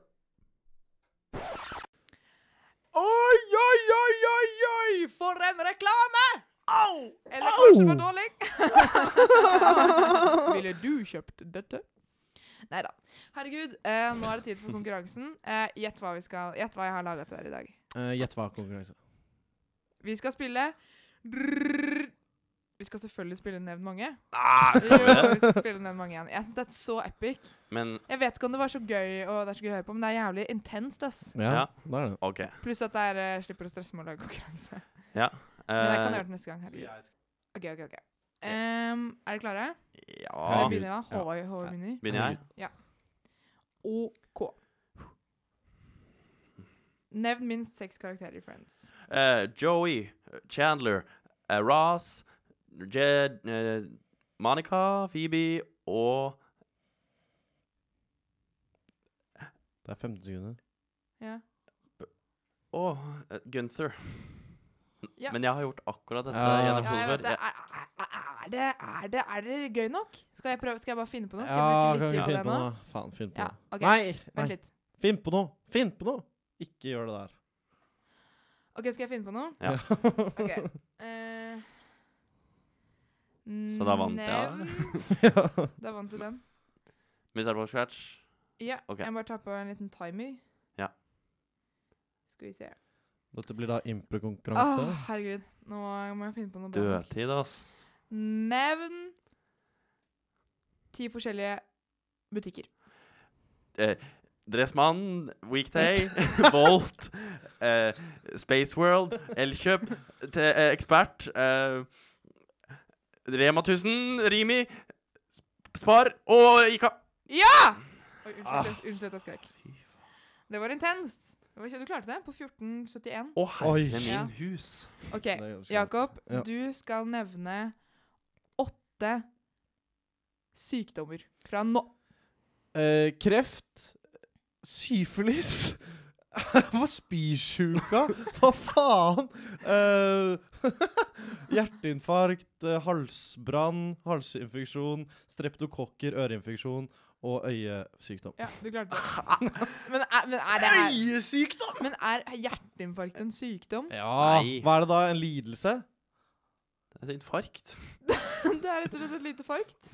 Speaker 3: Oi, oi, oi, oi, oi! For en reklame! Eller kanskje for dårlig? Ville du kjøpt dette? Nei da. Herregud, eh, nå er det tid for konkurransen. Eh, Gjett hva vi skal Gjett hva jeg har laga til dere i dag.
Speaker 1: Eh, Gjett hva konkurranse.
Speaker 3: Vi skal spille Vi skal selvfølgelig spille Nevn mange.
Speaker 2: Ah,
Speaker 3: Jo, vi skal spille Nevn mange igjen. Jeg syns det er så epic.
Speaker 2: men
Speaker 3: Jeg vet ikke om det var så gøy, og det er så gøy å høre på, men det er jævlig intenst, ass.
Speaker 1: Ja,
Speaker 2: Ja.
Speaker 1: da er det.
Speaker 2: OK.
Speaker 3: Pluss at jeg eh, slipper å stresse med å lage konkurranse. Men jeg kan
Speaker 2: Eh,
Speaker 3: gjøre det neste gang. Herregud. OK, OK. ok. Em, er dere klare?
Speaker 2: Eh, ja
Speaker 3: Jeg begynner, da. Håvard Håvard begynner.
Speaker 2: Begynner jeg?
Speaker 3: OK. Nevn minst seks karakterer i Friends.
Speaker 2: Eh, Joey, Chandler, eh, Ross, Jed, eh, Monica, Phoebe og
Speaker 1: Det er 15 sekunder.
Speaker 3: Ja.
Speaker 2: Å, eh, Gunther.
Speaker 3: Ja.
Speaker 2: Men jeg har gjort akkurat dette
Speaker 1: Ja.
Speaker 2: gjennom
Speaker 3: ja
Speaker 2: hodet
Speaker 3: jeg vet det.
Speaker 2: før.
Speaker 3: Er, er, er, det, er, det, er det gøy nok? Skal jeg, prøve, skal jeg bare finne på noe? Skal
Speaker 1: Ja,
Speaker 3: jeg
Speaker 1: kan
Speaker 3: bruke litt
Speaker 1: ikke
Speaker 3: tid
Speaker 1: finne
Speaker 3: på
Speaker 1: på
Speaker 3: det nå?
Speaker 1: noe. Faen, finn på
Speaker 3: Ja,
Speaker 1: noe.
Speaker 3: ok.
Speaker 1: Nei,
Speaker 3: Vent
Speaker 1: nei,
Speaker 3: litt.
Speaker 1: finn på noe! Finn på noe! Ikke gjør det der.
Speaker 3: OK, skal jeg finne på noe?
Speaker 2: Ja.
Speaker 3: Ok. Eh,
Speaker 2: Så da vant jeg, da,
Speaker 3: nevn-
Speaker 1: ja.
Speaker 3: Da vant du den.
Speaker 2: Vi starter på scratch.
Speaker 3: Ja,
Speaker 2: Ok.
Speaker 3: jeg må bare ta på en liten timer.
Speaker 2: Ja.
Speaker 3: Skal vi se.
Speaker 1: Dette blir da
Speaker 3: Åh,
Speaker 1: improkonkurranse.
Speaker 3: herregud. Nå må jeg finne på noe bra. nok.
Speaker 2: Dødtid, ass.
Speaker 3: Nevn ti forskjellige butikker.
Speaker 2: Dressmann, Weekday, Volt, eh, Space World, Elkjøp, te, eh, Ekspert, eh, Rema 1000, Rimi, Sp- Spar og Ika.
Speaker 3: Ja! Oi, unnskyld,
Speaker 2: Ah.
Speaker 3: jeg, unnskyld at jeg skrek. Det var intenst. Det var, du klarte det på 1471.
Speaker 2: Å,
Speaker 1: Oi.
Speaker 2: herre
Speaker 3: Ja.
Speaker 2: min hus.
Speaker 3: OK,
Speaker 1: Det gjør det ikke.
Speaker 3: Jakob.
Speaker 1: Ja.
Speaker 3: Du skal nevne åtte sykdommer fra nå.
Speaker 1: Eh, kreft, syfilis Hva spysjuka? Hva faen? Eh, hjerteinfarkt, eh, halsbrann, halsinfeksjon, streptokokker, øreinfeksjon og øyesykdom.
Speaker 3: Ja, du klarte det. Men er, men er det her
Speaker 1: Øyesykdom?!
Speaker 3: Men er hjerteinfarkt en sykdom?
Speaker 1: Ja.
Speaker 2: Nei.
Speaker 1: Ah, Hva er det da? En lidelse?
Speaker 2: Et infarkt.
Speaker 3: det er rett og slett et lite farkt.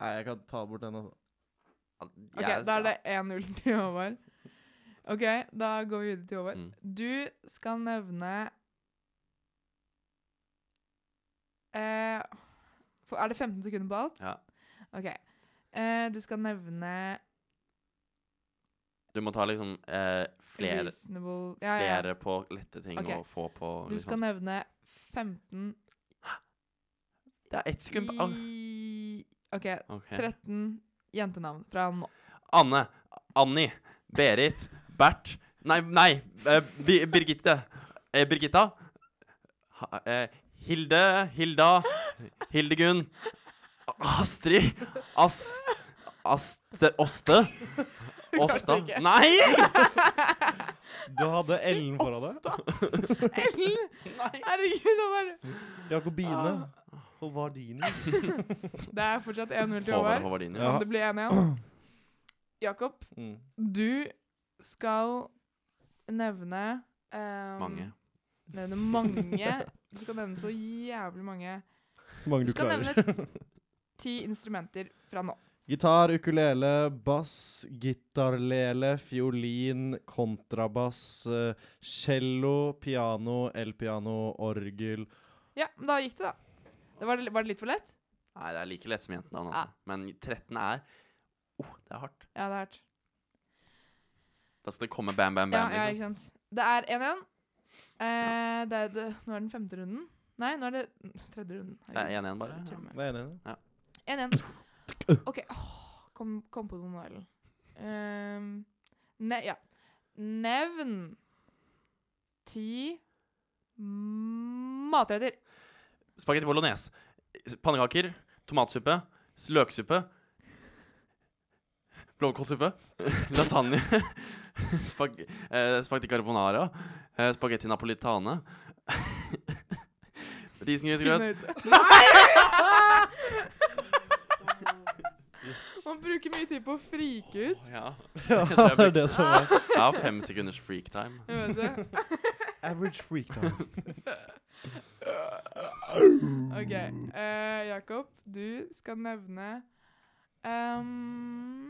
Speaker 1: Nei, jeg kan ta bort den. Altså.
Speaker 3: Ok, Da er det 1-0 til Håvard. Ok, da går vi videre til Håvard.
Speaker 2: Mm.
Speaker 3: Du skal nevne eh, for, Er det 15 sekunder på alt?
Speaker 2: Ja.
Speaker 3: Ok. Eh, du skal nevne
Speaker 2: Du må ta liksom eh, flere,
Speaker 3: Reasonable ja, ja.
Speaker 2: flere på lette ting
Speaker 3: Ok.
Speaker 2: og få på
Speaker 3: Du skal
Speaker 2: liksom.
Speaker 3: nevne 15
Speaker 2: Det er ett sekund på
Speaker 3: i OK,
Speaker 2: Ok.
Speaker 3: 13 jentenavn fra nå.
Speaker 2: Anne, Anni, Berit, Bert Nei, nei, eh, Bi- Birgitte. Eh, Birgitta. Ha, eh, Hilde, Hilda, Hildegunn. Astrid. Ast... Aste... Åste. Åsta. Nei!
Speaker 1: Du hadde Ellen foran deg.
Speaker 3: Ellen! Herregud, det var
Speaker 1: Jakobine. Og Vardini.
Speaker 3: Det er fortsatt 1-0 til
Speaker 2: Håvard
Speaker 3: Håvard.
Speaker 2: Håvardini.
Speaker 1: Ja.
Speaker 3: Kan det bli 1-1? Jakob,
Speaker 1: Mm.
Speaker 3: du skal nevne ehm,
Speaker 2: Mange.
Speaker 3: Nevne mange. Du skal nevne så jævlig mange.
Speaker 1: Så mange du
Speaker 3: Du skal
Speaker 1: klarer.
Speaker 3: nevne ti instrumenter fra nå.
Speaker 1: Gitar, ukulele, bass, gitarlele, fiolin, kontrabass, eh, cello, piano, elpiano, orgel.
Speaker 3: Ja, men da gikk det, da. Det var, var det litt for lett?
Speaker 2: Nei, det er like lett som jentenavn.
Speaker 3: Ja.
Speaker 2: Altså. Men 13 er oh, Det er hardt.
Speaker 3: Ja, det er hardt.
Speaker 2: Da skal det komme bam, bam,
Speaker 3: Ja,
Speaker 2: bam.
Speaker 3: ja,
Speaker 2: liksom.
Speaker 3: ikke sant. Det er 1-1. Eh, det er, det, nå er den femte runden. Nei, nå er det tredje runden.
Speaker 2: Det er 1-1 bare.
Speaker 3: Herregud, tull med meg.
Speaker 1: Det er jeg enig i.
Speaker 3: 1-1. OK. åh, kom, kom på noe nå, Ellen. Ehm, ne, ja. Nevn ti matretter.
Speaker 2: Spagetti bolognese. Pannekaker. Tomatsuppe. s- Løksuppe. Blåkålsuppe. Lasagne. Spag eh, spagetti carbonara. Eh, spagetti napolitane. Risengrynsgrøt.
Speaker 3: Man bruker mye tid på å frike ut.
Speaker 2: Ja.
Speaker 1: Ja, det er det som er
Speaker 2: Jeg har fem sekunders freaktime.
Speaker 3: Jeg vet det.
Speaker 1: average freak time.
Speaker 3: OK. eh, Jakob, du skal nevne ehm,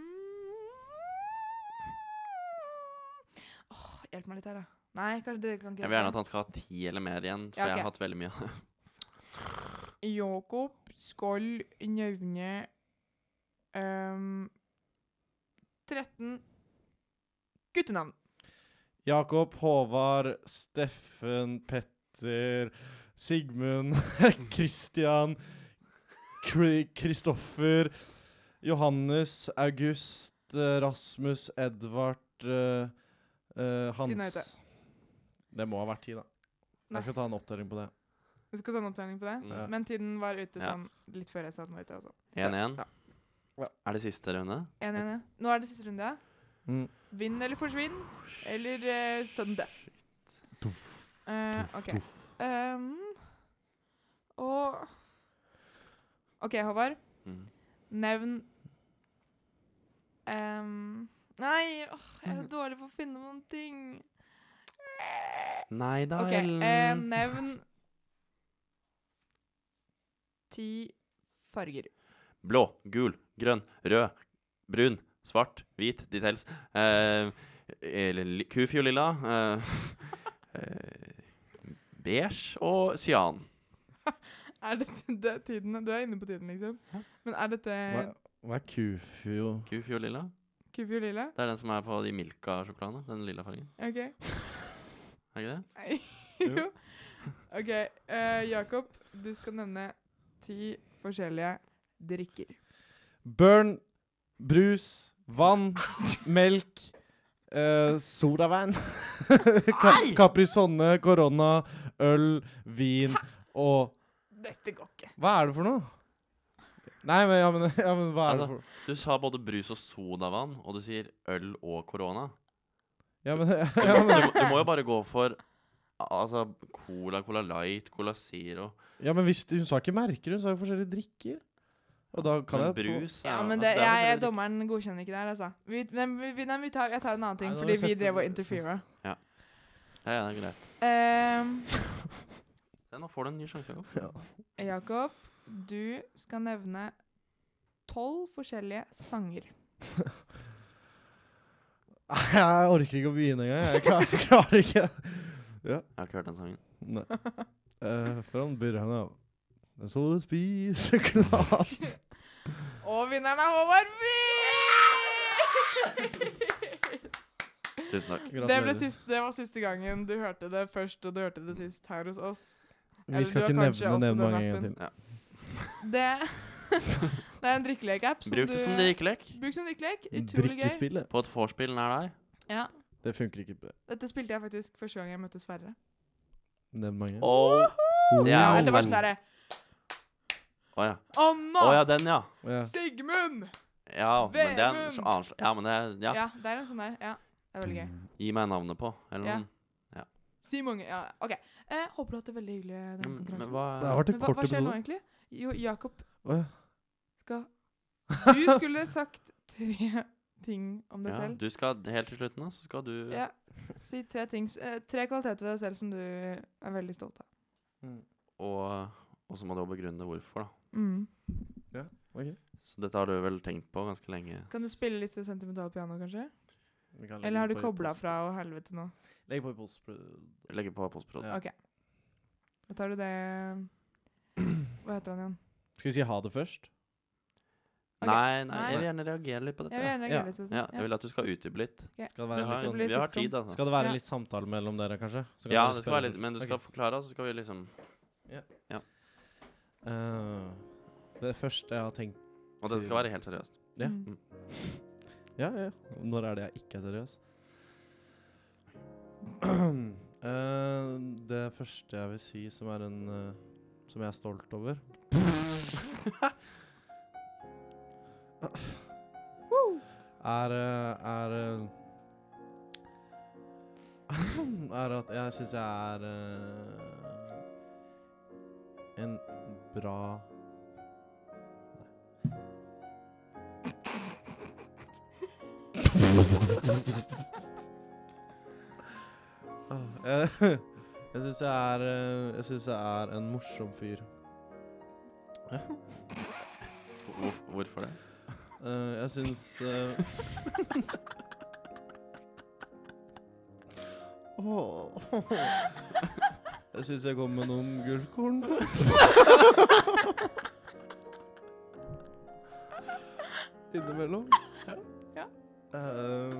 Speaker 3: åh, Hjelp meg litt her, da. Nei, kanskje dere kan
Speaker 2: Jeg vil gjerne at han skal ha ti eller mer igjen, for
Speaker 3: Ja,
Speaker 2: jeg
Speaker 3: ok.
Speaker 2: har hatt veldig mye.
Speaker 3: Jakob skal nevne ehm, 13 guttenavn.
Speaker 1: Jakob, Håvard, Steffen, Petter, Sigmund, Christian, Kri- Kristoffer, Johannes, August, eh, Rasmus, Edvard, eh, eh,
Speaker 3: Tiden er ute.
Speaker 1: Hans. Det må ha vært ti, da.
Speaker 3: Nei.
Speaker 1: Jeg skal ta en oppdatering på det.
Speaker 3: Jeg skal ta en opptelling på det.
Speaker 1: Ja.
Speaker 3: Men tiden var ute
Speaker 2: Ja.
Speaker 3: sånn litt før jeg sa den var ute. altså.
Speaker 2: 1-1.
Speaker 1: Ja.
Speaker 2: Er det siste runde?
Speaker 3: 1-1, ja. Nå er det siste runde.
Speaker 1: Mm.
Speaker 3: Vinn eller forsvinn, eller eh, sudden death. Eh, OK. Ehm, og OK, Håvard.
Speaker 2: Mm.
Speaker 3: Nevn ehm, Nei, åh, jeg er så dårlig på å finne noen ting.
Speaker 2: Nei da,
Speaker 3: OK,
Speaker 2: Ellen.
Speaker 3: eh, nevn ti farger.
Speaker 2: Blå, gul, grønn, rød, brun, svart, hvit, details. Eh, eller li- Kufiolilla. Eh, eh, beige og cyan.
Speaker 3: Er det, det er tiden, Du er inne på tiden, liksom. Men er dette
Speaker 1: Hva, hva er kufio?
Speaker 2: Kufiolilla.
Speaker 3: kufiolilla?
Speaker 2: Det er den som er på de Milka-sjokoladene. Den lilla fargen.
Speaker 3: OK.
Speaker 2: Er ikke det?
Speaker 3: Nei.
Speaker 1: Jo.
Speaker 3: jo. OK, eh, Jakob, du skal nevne ti forskjellige drikker.
Speaker 1: Burn, brus, vann, melk, eh, sodavann, Ka Caprisonne, korona, øl, vin og
Speaker 3: Dette går ikke.
Speaker 1: Hva er det for noe? Nei, men, ja, men, ja, men hva er det
Speaker 2: Altså.
Speaker 1: for
Speaker 2: Du sa både brus og sodavann, og du sier øl og korona.
Speaker 1: Ja, men,
Speaker 2: Du,
Speaker 1: ja, men,
Speaker 2: må- du må jo bare gå for altså, cola, cola light, cola zero.
Speaker 1: ja, men hvis, hun sa ikke merker, hun sa jo forskjellige drikker. Og da kan
Speaker 2: Men
Speaker 1: jeg på-
Speaker 2: brus er
Speaker 3: Ja,
Speaker 2: jo-
Speaker 3: men
Speaker 2: altså,
Speaker 3: det,
Speaker 2: er jo
Speaker 3: jeg, jeg,
Speaker 2: forskjellig-
Speaker 3: dommeren godkjenner ikke det her, altså. Vi, nei, vi, vi- nei, vi tar, jeg tar en annen ting,
Speaker 1: Nei, nå har
Speaker 3: fordi
Speaker 1: jeg
Speaker 3: vi
Speaker 1: sett
Speaker 3: drev og
Speaker 1: det-
Speaker 3: interfere.
Speaker 2: Ja, ja, det er greit.
Speaker 3: Ehm,
Speaker 2: Ja, Nå får du en ny sjanse. Jakob.
Speaker 3: Jakob, du skal nevne tolv forskjellige sanger.
Speaker 1: Nei, Jeg orker ikke å begynne engang. Jeg klarer, jeg klarer ikke.
Speaker 2: Jeg har ikke hørt den sangen.
Speaker 1: Nei. Eh, Fra byrjan av. Men så du spiser glass
Speaker 3: Og vinneren er Håvard Myhrs!
Speaker 2: Tusen takk.
Speaker 3: Det, ble sist, det var siste gangen du hørte det først, og du hørte det sist her hos oss.
Speaker 1: Vi
Speaker 3: Eller
Speaker 1: skal
Speaker 3: du
Speaker 1: ikke
Speaker 3: har kanskje
Speaker 1: nevne
Speaker 3: også
Speaker 1: den
Speaker 3: den
Speaker 1: mange ganger
Speaker 3: appen.
Speaker 1: til.
Speaker 3: Det, det er en drikkelek-app. som
Speaker 2: Bruk
Speaker 3: du-
Speaker 2: det som drikkelek.
Speaker 3: Bruk som drikkelek. Utrolig gøy.
Speaker 1: Drikkespillet.
Speaker 2: På et vorspiel nær deg.
Speaker 3: Ja.
Speaker 1: Det funker ikke på
Speaker 3: Dette spilte jeg faktisk første gang jeg møtte Sverre.
Speaker 1: den mange.
Speaker 2: Og Det er
Speaker 3: Ja,
Speaker 2: jo
Speaker 3: eller det var sånn
Speaker 2: veldig-
Speaker 3: derre
Speaker 2: Å ja.
Speaker 3: Anna!
Speaker 2: Å ja, den, ja.
Speaker 1: Ja.
Speaker 3: Sigmund!
Speaker 2: Ja, men det er en
Speaker 3: Vemund!
Speaker 2: annen slags Ja, men det er
Speaker 3: Ja.
Speaker 2: Ja,
Speaker 3: det er en sånn der. Ja, det er veldig gøy.
Speaker 2: gi meg navnet på, eller
Speaker 3: Ja.
Speaker 2: noe.
Speaker 3: Simon, ja, OK. Eh, håper du har hatt det veldig hyggelig i denne
Speaker 2: Men, Mm, men
Speaker 3: konkurransen.
Speaker 2: hva
Speaker 1: Det har vært
Speaker 3: Men
Speaker 1: en
Speaker 3: hva,
Speaker 1: kort
Speaker 3: hva skjer nå,
Speaker 1: episode.
Speaker 3: egentlig? Jo, Jakob
Speaker 1: Å, ja.
Speaker 3: skal Du skulle sagt tre ting om deg
Speaker 2: ja,
Speaker 3: selv.
Speaker 2: Du skal helt til slutten, da, så skal du
Speaker 3: Ja. Si tre ting s- eh, Tre kvaliteter ved deg selv som du er veldig stolt av.
Speaker 2: og, og så må du jo begrunne hvorfor, da.
Speaker 3: Mm.
Speaker 1: Ok.
Speaker 2: Så dette har du vel tenkt på ganske lenge.
Speaker 3: Kan du spille litt sentimentalt piano, kanskje?
Speaker 1: Vi kan legge
Speaker 3: Eller har
Speaker 1: den
Speaker 3: du
Speaker 1: på i
Speaker 3: kobla
Speaker 1: post-
Speaker 3: fra og helvete nå?
Speaker 1: Legg på i post.
Speaker 2: Legge på postprod.
Speaker 1: Ja.
Speaker 3: OK. Da tar du det Hva heter han igjen?
Speaker 1: Skal vi si ha det først?
Speaker 3: Ok.
Speaker 2: Nei, nei,
Speaker 3: Nei.
Speaker 2: jeg vil gjerne reagere litt på
Speaker 3: Jeg
Speaker 2: dette. Ja.
Speaker 3: vil
Speaker 1: Ja.
Speaker 3: gjerne reagere litt på det.
Speaker 2: Ja, jeg vil at du skal utdype litt.
Speaker 1: Skal det
Speaker 2: Vi
Speaker 1: være
Speaker 2: har,
Speaker 1: litt,
Speaker 3: så
Speaker 1: sånn,
Speaker 3: blir det
Speaker 2: vi har
Speaker 3: sitcom.
Speaker 2: tid, altså.
Speaker 1: skal det være
Speaker 3: Ja.
Speaker 1: litt samtale mellom dere, kanskje? Så kan
Speaker 2: Ja,
Speaker 1: dere
Speaker 2: det skal
Speaker 1: spille
Speaker 2: være litt,
Speaker 1: først.
Speaker 2: men du
Speaker 1: Ok.
Speaker 2: skal forklare, og så skal vi liksom
Speaker 1: Eh, Det første jeg har tenkt
Speaker 2: Og dette skal være helt seriøst.
Speaker 1: Ja.
Speaker 3: Mm.
Speaker 1: Ja, ja. Når er det jeg ikke er seriøs? Eh, det første jeg vil si som er en eh, Som jeg er stolt over Er eh, Er eh, Er at jeg syns jeg er eh, en bra Eh, Jeg syns jeg er eh, Jeg synes jeg er en morsom fyr.
Speaker 2: Hvor, hvorfor det?
Speaker 1: Eh, Jeg syns eh, Åh. Jeg syns jeg kom med noen gullkorn. Innimellom.
Speaker 3: Ja.
Speaker 1: Eh,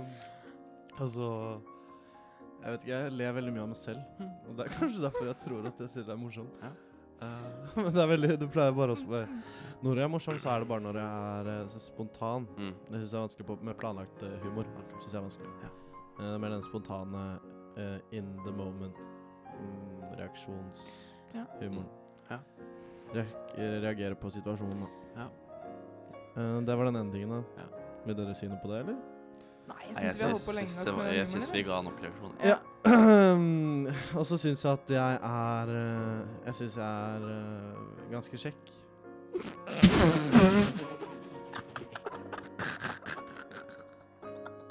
Speaker 1: altså Jeg vet ikke, jeg ler veldig mye av meg selv. Og det er kanskje derfor jeg tror at jeg selv er morsom.
Speaker 2: Ja.
Speaker 1: Eh, men det er veldig Du pleier bare å spørre Når jeg er morsom, så er det bare når jeg er eh, så spontan.
Speaker 2: Mm.
Speaker 1: Det syns jeg er vanskelig på, med planlagt eh, humor.
Speaker 2: ok.
Speaker 1: Synes jeg er vanskelig.
Speaker 2: Ja.
Speaker 1: Eh, det er mer den spontane eh, in the moment mm,
Speaker 3: Ja.
Speaker 1: reaksjonshumoren.
Speaker 2: Ja.
Speaker 1: Reak- eh, reagere på situasjonen, da.
Speaker 2: Ja.
Speaker 1: Eh, det var den ene tingen, da.
Speaker 2: Ja.
Speaker 1: Vil dere si noe på det, eller?
Speaker 3: Nei, jeg
Speaker 2: Nei,
Speaker 3: syns vi har
Speaker 2: syns-
Speaker 3: holdt på lenge
Speaker 2: det
Speaker 3: nok
Speaker 2: var-
Speaker 3: med
Speaker 2: Jeg
Speaker 3: den
Speaker 2: syns
Speaker 3: humoren.
Speaker 2: vi
Speaker 3: eller?
Speaker 2: ga nok reaksjoner.
Speaker 1: Ja. og så syns jeg at jeg er eh, Jeg syns jeg er eh, ganske kjekk.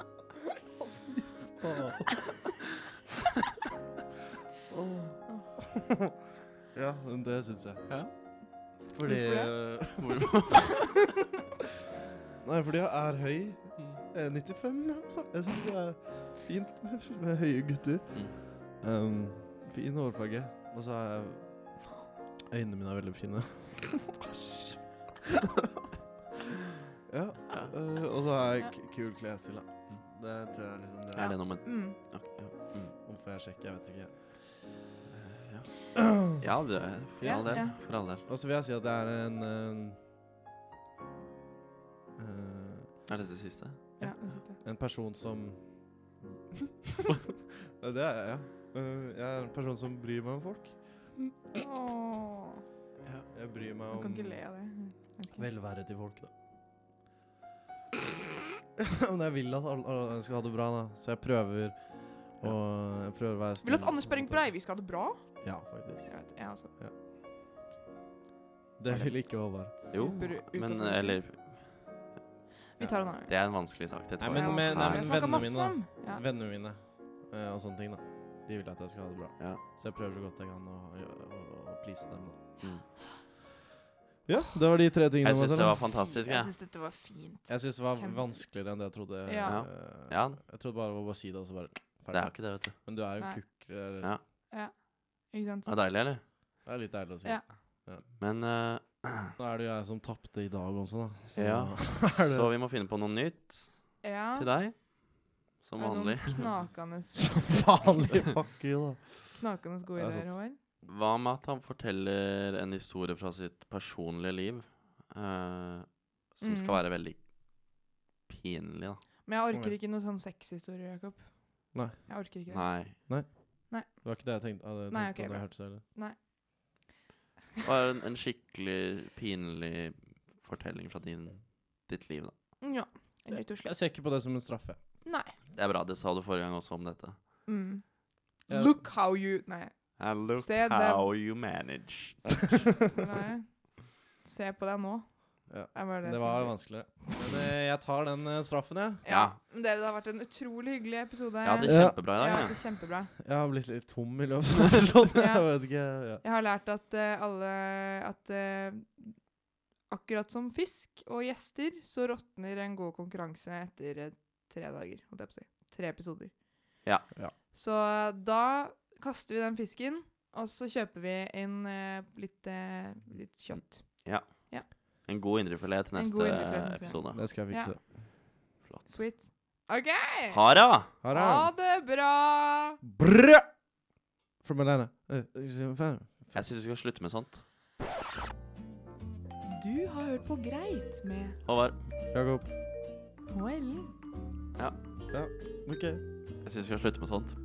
Speaker 1: ja, det syns jeg.
Speaker 2: Ja.
Speaker 1: Fordi
Speaker 2: Hvor-
Speaker 1: Nei, fordi jeg er høy.
Speaker 7: Mm.
Speaker 1: Jeg er 95. Eh, Jeg syns det er fint med, med høye gutter. Um, fin hårfarge. Og så er jeg Øynene mine er veldig fine. ja. øh, og så er jeg k- kul klesstil, da. Det tror jeg liksom det
Speaker 2: Er
Speaker 1: er.
Speaker 2: det noe med
Speaker 3: Mm.
Speaker 2: ok, ja. Mm.
Speaker 1: Hvorfor jeg sjekker, jeg vet ikke.
Speaker 2: Ja. Ja, det er for
Speaker 3: Ja,
Speaker 2: all del.
Speaker 3: ja.
Speaker 2: For all del.
Speaker 1: Og så vil jeg si at jeg er en, en øh,
Speaker 2: Er dette siste?
Speaker 3: Ja, den siste.
Speaker 1: En person som Ja, Det er jeg, ja. Øh, Jeg er en person som bryr meg om folk.
Speaker 3: Åh,
Speaker 1: Jeg bryr meg
Speaker 3: du
Speaker 1: om
Speaker 3: kan ikke le av det. Vet ikke.
Speaker 1: velvære til folk, da. Men jeg vil at alle, alle skal ha det bra, da. Så jeg prøver å jeg prøver å være
Speaker 3: Vil du at
Speaker 1: snill
Speaker 3: Anders Behring
Speaker 1: mot alle.
Speaker 3: Breivik skal ha det bra?
Speaker 1: Ja, faktisk.
Speaker 3: Jeg vet, ja, altså.
Speaker 1: Det vil ikke Håvard.
Speaker 2: Jo,
Speaker 3: Super ut av
Speaker 2: men
Speaker 3: fokusen.
Speaker 2: eller
Speaker 3: Vi tar en annen.
Speaker 2: Det er en vanskelig sak. Det
Speaker 1: Nei,
Speaker 2: tror
Speaker 1: men-
Speaker 2: jeg.
Speaker 1: men- nei,
Speaker 2: Her-
Speaker 1: men-
Speaker 3: Jeg snakker
Speaker 1: vennene
Speaker 3: masse
Speaker 1: mine, da.
Speaker 3: om- Ja.
Speaker 1: Vennene mine eh, og sånne ting, da. De vil at jeg skal ha det bra.
Speaker 2: Ja.
Speaker 1: Så jeg prøver så godt jeg kan å, å, å, å please dem, da.
Speaker 2: Mm.
Speaker 1: Ja, det var de tre tingene.
Speaker 2: Jeg
Speaker 1: om meg
Speaker 2: syns det
Speaker 1: selv, da.
Speaker 2: var fantastisk,
Speaker 3: Jeg
Speaker 2: jeg.
Speaker 3: syns dette var fint.
Speaker 1: Jeg syns det var
Speaker 3: Kjempe-
Speaker 1: vanskeligere enn det jeg trodde.
Speaker 3: Ja.
Speaker 1: eh,
Speaker 2: Ja,
Speaker 1: Jeg trodde bare det var bare å si det, og så bare
Speaker 2: det er jo ikke det, vet du.
Speaker 1: Men du er jo
Speaker 3: Nei.
Speaker 1: en kukk. eller-
Speaker 2: Ja.
Speaker 3: Ikke sant?
Speaker 2: Det er deilig, eller?
Speaker 1: Det er litt deilig å si.
Speaker 3: Ja.
Speaker 2: Men eh,
Speaker 1: Nå er det jo jeg som tapte i dag også, da. Så
Speaker 2: Ja.
Speaker 1: er det
Speaker 2: Så vi må finne på noe nytt
Speaker 3: Ja.
Speaker 2: til deg. Som
Speaker 3: Har du
Speaker 2: vanlig.
Speaker 3: Noen knakende,
Speaker 1: Som vanlig pakke, da.
Speaker 3: knakende gode
Speaker 1: Det er
Speaker 3: ideer, Håvard.
Speaker 2: Hva med at han forteller en historie fra sitt personlige liv eh, som
Speaker 3: Mhm.
Speaker 2: skal være veldig pinlig, da?
Speaker 3: Men jeg orker
Speaker 1: Ok.
Speaker 3: ikke noe sånn sexhistorie, Jakob.
Speaker 1: Nei.
Speaker 3: Jeg orker ikke det.
Speaker 2: Nei.
Speaker 1: Det var ikke det jeg tenkte. Hadde jeg
Speaker 3: Nei,
Speaker 1: tenkt
Speaker 3: ok,
Speaker 1: på
Speaker 3: bra.
Speaker 1: når jeg hørte det, eller?
Speaker 2: Bare en, en skikkelig pinlig fortelling fra din, ditt liv, da.
Speaker 3: Mm, Ja, rett og
Speaker 1: Jeg
Speaker 3: slett.
Speaker 1: ser ikke på det som en straffe.
Speaker 3: Nei.
Speaker 2: Det er bra. Det sa du forrige gang også om dette.
Speaker 3: Mm.
Speaker 1: Ja.
Speaker 3: Look how you Nei.
Speaker 2: And look
Speaker 3: Se, det-
Speaker 2: how you manage.
Speaker 3: Nei. Se på deg nå.
Speaker 1: Ja.
Speaker 3: Det var, det
Speaker 1: Det
Speaker 3: jeg
Speaker 1: var
Speaker 3: skulle si.
Speaker 1: vanskelig. Men eh, jeg tar den eh, straffen, jeg.
Speaker 3: Ja.
Speaker 2: Ja.
Speaker 3: men Dere, det har vært en utrolig hyggelig episode.
Speaker 2: Jeg hadde
Speaker 1: Ja.
Speaker 2: kjempebra i
Speaker 3: Jeg
Speaker 2: dag.
Speaker 3: har
Speaker 2: jeg.
Speaker 3: hatt det kjempebra.
Speaker 1: Jeg har blitt litt tom i løpet av episoden.
Speaker 3: Ja.
Speaker 1: Jeg vet ikke. Ja.
Speaker 3: Jeg har lært at eh, alle At eh, akkurat som fisk og gjester, så råtner en god konkurranse etter eh, tre dager. Holdt jeg på å si. Tre episoder.
Speaker 2: Ja.
Speaker 1: Ja.
Speaker 3: Så da kaster vi den fisken, og så kjøper vi inn eh, litt, eh, litt kjøtt.
Speaker 2: En god indrefilet til
Speaker 3: En
Speaker 2: neste
Speaker 3: god indrefilet neste gang.
Speaker 2: episode.
Speaker 1: Det skal jeg fikse.
Speaker 2: Flott.
Speaker 3: Sweet. OK!
Speaker 2: Ha det! da!
Speaker 1: Ha det.
Speaker 3: Ha det bra!
Speaker 1: Brød! From Alana. Eh, eh,
Speaker 2: Jeg syns vi skal slutte med sånt.
Speaker 3: Du har hørt på Greit med
Speaker 2: Håvard,
Speaker 1: Jakob.
Speaker 3: HL.
Speaker 1: OK.
Speaker 2: jeg syns vi skal slutte med sånt.